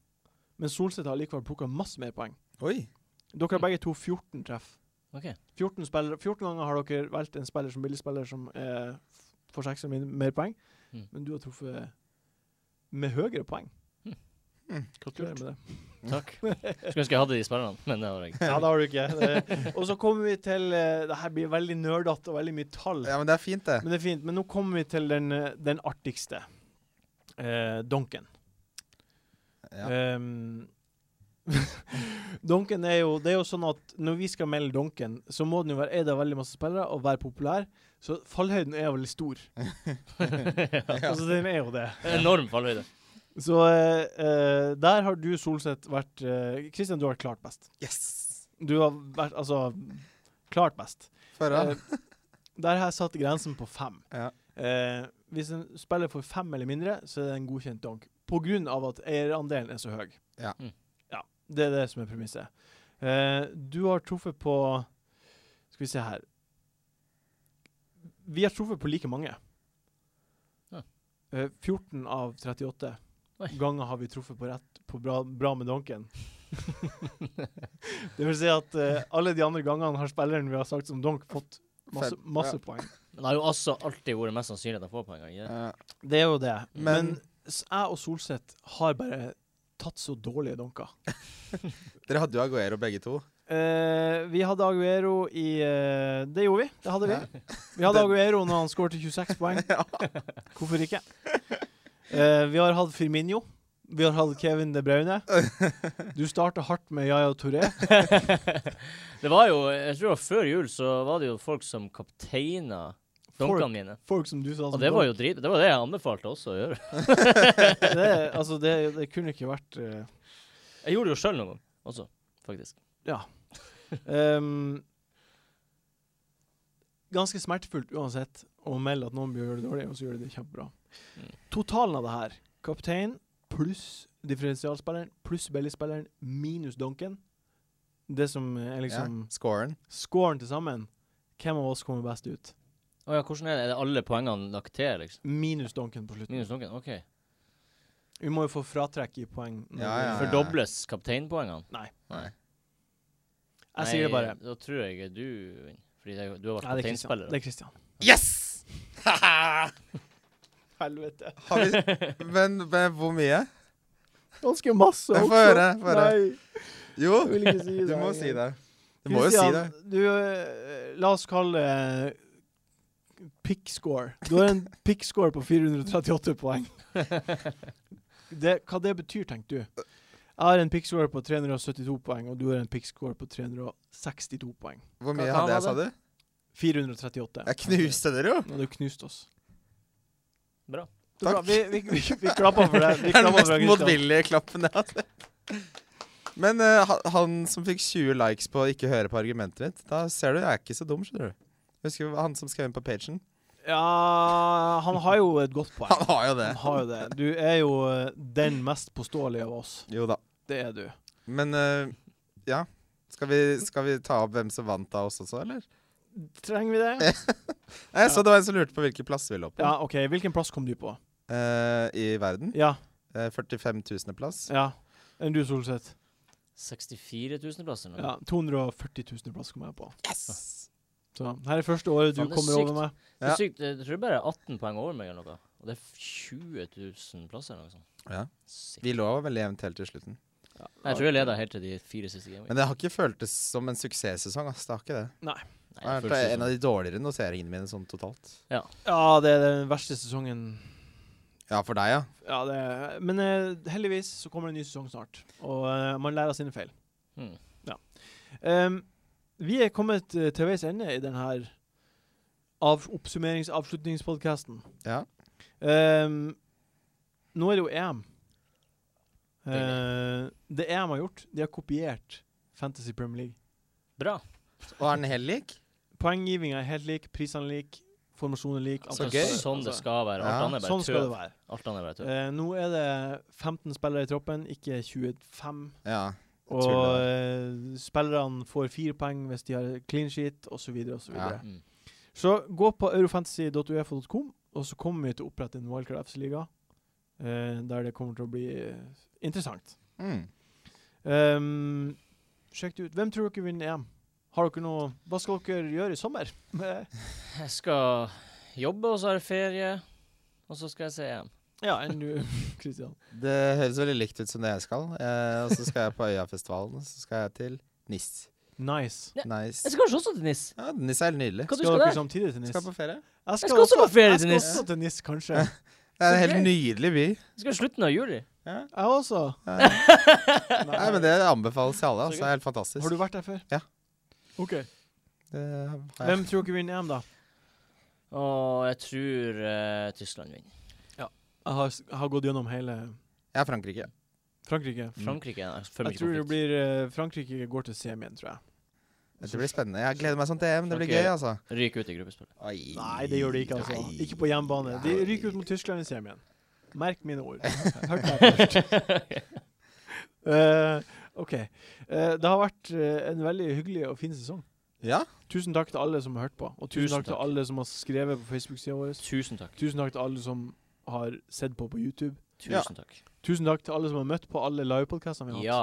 Speaker 1: men Solseth har likevel plukka masse mer poeng.
Speaker 4: Oi.
Speaker 1: Dere
Speaker 4: Mm.
Speaker 1: har begge to 14 treff.
Speaker 2: OK.
Speaker 1: 14, spillere- 14 ganger har dere valgt en spiller som billigspiller som eh, f- får seks eller min- mer poeng,
Speaker 2: Mm.
Speaker 1: men du har truffet med høyere poeng.
Speaker 4: Mm.
Speaker 1: Gratulerer med det.
Speaker 2: Takk. Skulle ønske jeg hadde de spillerne, men det har jeg ikke.
Speaker 1: Ja, det har du ikke. Det. Og så kommer vi til eh, Det her blir veldig nerdete og veldig mye tall.
Speaker 4: Ja, men det er fint, det.
Speaker 1: Men det er fint. Men nå kommer vi til den, eh, den artigste. Eh, donken.
Speaker 4: Ja.
Speaker 1: Ehm, donken er jo Det er jo sånn at når vi skal melde donken, så må den jo være eid av veldig masse spillere og være populær. Så fallhøyden er veldig stor. Altså, den er jo det.
Speaker 2: Enorm fallhøyde.
Speaker 1: Så eh, eh, der har du, Solseth, vært eh, Kristian, du har vært klart best.
Speaker 4: Yes!
Speaker 1: Du har vært altså klart best.
Speaker 4: Forhånd.
Speaker 1: Eh, der har jeg satt grensen på fem.
Speaker 4: Ja.
Speaker 1: Eh, hvis en spiller får fem eller mindre, så er det en godkjent donk. På grunn av at eierandelen er så høy.
Speaker 4: Ja.
Speaker 2: Mm.
Speaker 1: Ja, Det er det som er premisset. Eh, du har truffet på Skal vi se her Vi har truffet på like mange.
Speaker 2: Ja.
Speaker 1: Eh, 14 av 38
Speaker 2: Oi.
Speaker 1: ganger har vi truffet på rett på bra, bra med donken. det vil si at eh, alle de andre gangene har spilleren vi har sagt som donk, fått masse,
Speaker 4: Fem,
Speaker 1: masse
Speaker 4: ja.
Speaker 1: poeng.
Speaker 2: Men det har jo altså alltid vært mest sannsynlig at jeg får poeng. har jeg ikke det?
Speaker 4: Ja.
Speaker 1: Det er jo det. Men,
Speaker 4: Men-
Speaker 1: s- jeg og Solseth har bare tatt så dårlige donker.
Speaker 4: Dere hadde jo Aguero begge to.
Speaker 1: Eh, vi hadde Aguero i eh, Det gjorde vi. Det hadde vi. Vi hadde Aguero når han skåret 26 poeng. Hvorfor ikke? Eh, vi har hatt Firmino. Vi har hatt Kevin De Bruyne. Du starta hardt med Yaya Touré.
Speaker 2: Det var jo, jeg tror det var før jul, så var det jo folk som kapteina donkene mine.
Speaker 1: Folk som du sa
Speaker 2: Og det var jo drit, det var det jeg anbefalte også å gjøre.
Speaker 1: det, altså, det, det kunne ikke vært eh,
Speaker 2: Jeg gjorde det jo sjøl noen gang også, faktisk.
Speaker 1: Ehm, ganske smertefullt uansett å melde at noen bør gjøre det dårlig, og så gjør de det kjempebra.
Speaker 2: Mm.
Speaker 1: Totalen av det her, kaptein pluss differensialspilleren pluss bellyspilleren minus donken, det som er liksom
Speaker 4: Ja. Scoren.
Speaker 1: scoren til sammen, hvem av oss kommer best ut?
Speaker 2: Å ja, hvordan er det? Er det alle poengene lagt til, liksom?
Speaker 1: Minus donken på
Speaker 4: Mm.
Speaker 1: slutten.
Speaker 2: Minus noen? OK.
Speaker 1: Vi må jo få fratrekk i poeng. når
Speaker 4: Ja,
Speaker 1: vi-
Speaker 4: ja, ja.
Speaker 2: Fordobles kapteinpoengene?
Speaker 1: Jeg sier det
Speaker 2: Nei,
Speaker 1: bare.
Speaker 2: Da tror jeg du vinner. Fordi det, du har vært
Speaker 1: Nei, det er Christian.
Speaker 2: kapteinspiller.
Speaker 1: Det er Christian.
Speaker 4: Yes! Haha!
Speaker 1: Helvete.
Speaker 4: Har vi men, men hvor mye?
Speaker 1: Ganske masse.
Speaker 4: Jeg får
Speaker 1: også.
Speaker 4: høre, får høre.
Speaker 1: Nei.
Speaker 4: Jo,
Speaker 1: Jeg vil ikke si
Speaker 4: du
Speaker 1: det.
Speaker 4: må si det. Du må jo si det.
Speaker 1: Du, eh, la oss kalle det eh, pick score. Du har en pick score på 438 poeng. Det, hva det betyr, tenker du? Jeg har en pick score på 372 poeng, og du har en pick score på 362 poeng.
Speaker 4: Hvor
Speaker 2: Hva
Speaker 4: mye
Speaker 2: faen
Speaker 4: hadde jeg,
Speaker 2: var
Speaker 4: sa du?
Speaker 1: 438.
Speaker 4: Jeg knuste dere jo!
Speaker 1: Og du knuste oss.
Speaker 2: Bra.
Speaker 1: Det er bra.
Speaker 4: Takk.
Speaker 1: Vi, vi, vi, vi klapper for deg.
Speaker 4: Det
Speaker 1: Vi
Speaker 4: er den
Speaker 1: klapper for
Speaker 4: mest
Speaker 1: deg, Kristian.
Speaker 4: motvillige klappen jeg har hatt. Men eh, ha- han som fikk 20 likes på å ikke høre på argumentet mitt, da ser du, jeg er ikke så dum, skjønner du. Husker du han som skrev inn på pagen?
Speaker 1: Ja, han har jo et godt poeng.
Speaker 4: Han har jo det.
Speaker 1: Han har jo det. Du er jo eh, den mest påståelige av oss.
Speaker 4: Jo da.
Speaker 1: Det er du.
Speaker 4: Men eh, ja. Skal vi, skal vi ta opp hvem som vant av oss også, eller?
Speaker 1: Trenger vi det?
Speaker 4: Nei, jeg så det var en som lurte på hvilken plass vi lå på
Speaker 1: Ja, OK. Hvilken plass kom du på?
Speaker 4: eh, i verden.
Speaker 1: Ja.
Speaker 4: Eh, 45 000. plass.
Speaker 1: ja. Enn du, Solseth?
Speaker 2: 64 000 plasser nå.
Speaker 1: Ja, 240 000 plass kom jeg på.
Speaker 4: Yes!
Speaker 1: Så her er første året du
Speaker 2: Faen, det er
Speaker 1: kommer
Speaker 2: sykt.
Speaker 1: over meg.
Speaker 2: Det
Speaker 4: Ja.
Speaker 2: er sykt. Jeg tror bare 18 poeng over meg eller noe. Og det er 20 000 plasser eller noe sånt.
Speaker 4: Ja.
Speaker 2: Sykt.
Speaker 4: Vi lå veldig jevnt helt til slutten.
Speaker 2: Nei, Jeg tror jeg leder helt til de fire siste gamene.
Speaker 4: Men det har ikke føltes som en suksesssesong. ass. Det har ikke det.
Speaker 2: Nei,
Speaker 4: Det har
Speaker 2: det
Speaker 4: vært
Speaker 2: føles
Speaker 4: en
Speaker 2: jo
Speaker 4: av de dårligere noteringene mine sånn totalt.
Speaker 1: Ja, det er den verste sesongen.
Speaker 4: Ja, for deg, ja.
Speaker 1: Ja, det er. Men eh, heldigvis så kommer det en ny sesong snart, og eh, man lærer av sine feil.
Speaker 2: som- Mm.
Speaker 1: Em, vi er kommet eh, til veis ende i denne av oppsummerings-avslutningspodkasten.
Speaker 4: Ja.
Speaker 1: Em, nå er det jo EM.
Speaker 2: er det.
Speaker 1: Eh, det EM har gjort, de har kopiert Fantasy Premier League.
Speaker 2: Bra.
Speaker 4: Og er den helt lik?
Speaker 1: Poenggivinga er helt lik, prisene lik, formasjonen lik.
Speaker 2: Altså,
Speaker 1: antall
Speaker 4: gøy.
Speaker 1: spillere.
Speaker 2: Sånn det
Speaker 1: Altså,
Speaker 2: skal være. Alt
Speaker 4: Ja.
Speaker 2: annet er bare
Speaker 1: Sånn skal det
Speaker 2: tøv.
Speaker 1: være.
Speaker 2: Alt annet er bare tøv.
Speaker 1: Eh, nå er det 15 spillere i troppen, ikke 25.
Speaker 4: Ja.
Speaker 1: Og
Speaker 4: Tuller.
Speaker 1: eh, spillerne får fire poeng hvis de har clean sheet, osv. Så,
Speaker 4: Ja.
Speaker 1: videre.
Speaker 2: Mm.
Speaker 1: så gå på eurofantasy.uefa.com, og så kommer vi til å opprette en Wildcard FC-liga, eh, der det kommer til å bli eh, interessant.
Speaker 4: Mm.
Speaker 1: Ehm, sjekk det ut. Hvem tror dere vinner EM? Har dere noe Hva skal dere gjøre i sommer?
Speaker 2: Jeg skal jobbe, og så har jeg ferie. Og så skal jeg se EM.
Speaker 1: Ja, enn du, Kristian.
Speaker 4: Det høres veldig likt ut som det jeg skal. Eh, og så skal jeg på Øyafestivalen. Så skal jeg til NIS.
Speaker 1: Nice.
Speaker 2: Ja, Jeg
Speaker 4: Nice.
Speaker 2: skal kanskje også til NIS.
Speaker 4: Ja, NIS er helt nydelig.
Speaker 2: Hva
Speaker 1: Skal
Speaker 2: du skal
Speaker 1: dere liksom-
Speaker 2: der?
Speaker 1: samtidig til NIS?
Speaker 4: Skal på ferie.
Speaker 2: Jeg skal også på ferie til
Speaker 1: Jeg
Speaker 2: NIS.
Speaker 1: skal også til NIS, kanskje.
Speaker 4: Det er en
Speaker 2: Så
Speaker 4: helt nydelig by.
Speaker 2: Jeg skal i slutten av juli.
Speaker 1: Jeg også.
Speaker 4: Nei, men Det anbefales til alle. Altså. Det er helt fantastisk.
Speaker 1: Har du vært der før?
Speaker 4: Ja.
Speaker 1: OK.
Speaker 4: Det har jeg.
Speaker 1: Hvem tror dere vinner EM, da?
Speaker 2: Og jeg tror eh, Tyskland vinner.
Speaker 1: Jeg har, jeg har gått gjennom hele
Speaker 4: Jeg er Frankrike.
Speaker 1: Frankrike.
Speaker 2: Frankrike er der. for
Speaker 1: Mm. Jeg
Speaker 2: mye
Speaker 1: tror det
Speaker 2: konflikt.
Speaker 1: blir eh, Frankrike går til semien, tror jeg.
Speaker 4: Dette blir spennende. Jeg gleder meg sånn til EM. Det blir
Speaker 2: Frankrike-
Speaker 4: gøy, altså.
Speaker 2: Ryker ut i gruppespillet.
Speaker 1: Nei, det gjør de ikke, altså.
Speaker 4: Nei.
Speaker 1: Ikke på hjemmebane. De
Speaker 4: Nei.
Speaker 1: ryker ut mot Tyskland i semien. Merk mine ord. Hørte jeg først. Eh, OK. Eh, det har vært eh, en veldig hyggelig og fin sesong.
Speaker 4: Ja,
Speaker 1: Tusen takk til alle som har hørt på, og tusen,
Speaker 2: Tusen
Speaker 1: takk, til
Speaker 2: takk.
Speaker 1: alle som har skrevet på Facebook-sida vår.
Speaker 2: Tusen takk.
Speaker 1: Tusen takk til alle som har sett på på YouTube.
Speaker 4: Ja.
Speaker 2: Tusen takk.
Speaker 1: Tusen takk til alle som har møtt på alle livepodkastene vi har hatt.
Speaker 2: Ja.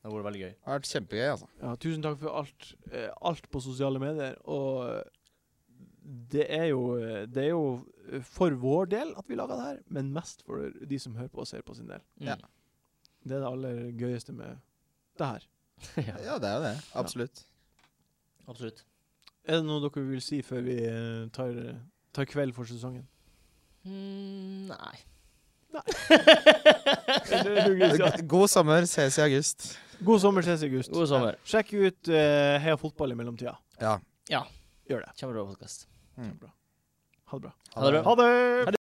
Speaker 2: Det har vært veldig gøy.
Speaker 4: det har vært kjempegøy, altså.
Speaker 1: Ja, tusen takk for alt, eh, alt på sosiale medier. Og eh, det er jo eh, Det er jo eh, for vår del at vi lager det her, men mest for de som hører på og ser på sin del.
Speaker 2: Mm.
Speaker 4: Ja.
Speaker 1: Det er det aller gøyeste med det her.
Speaker 4: Ja, det er jo det. Absolutt.
Speaker 2: Absolutt.
Speaker 1: Er det noe dere vil si før vi eh, tar, tar kveld for sesongen?
Speaker 2: Mm, nei.
Speaker 4: God sommer. Ses i august.
Speaker 1: God sommer, ses i august.
Speaker 2: God sommer.
Speaker 1: Sjekk ut eh, Heia fotball i mellomtida.
Speaker 4: Ja.
Speaker 1: Gjør det.
Speaker 2: Kjempebra podkast.
Speaker 4: Mm.
Speaker 1: Kjempebra. Ha det bra.
Speaker 2: Ha det bra.
Speaker 1: Ha det!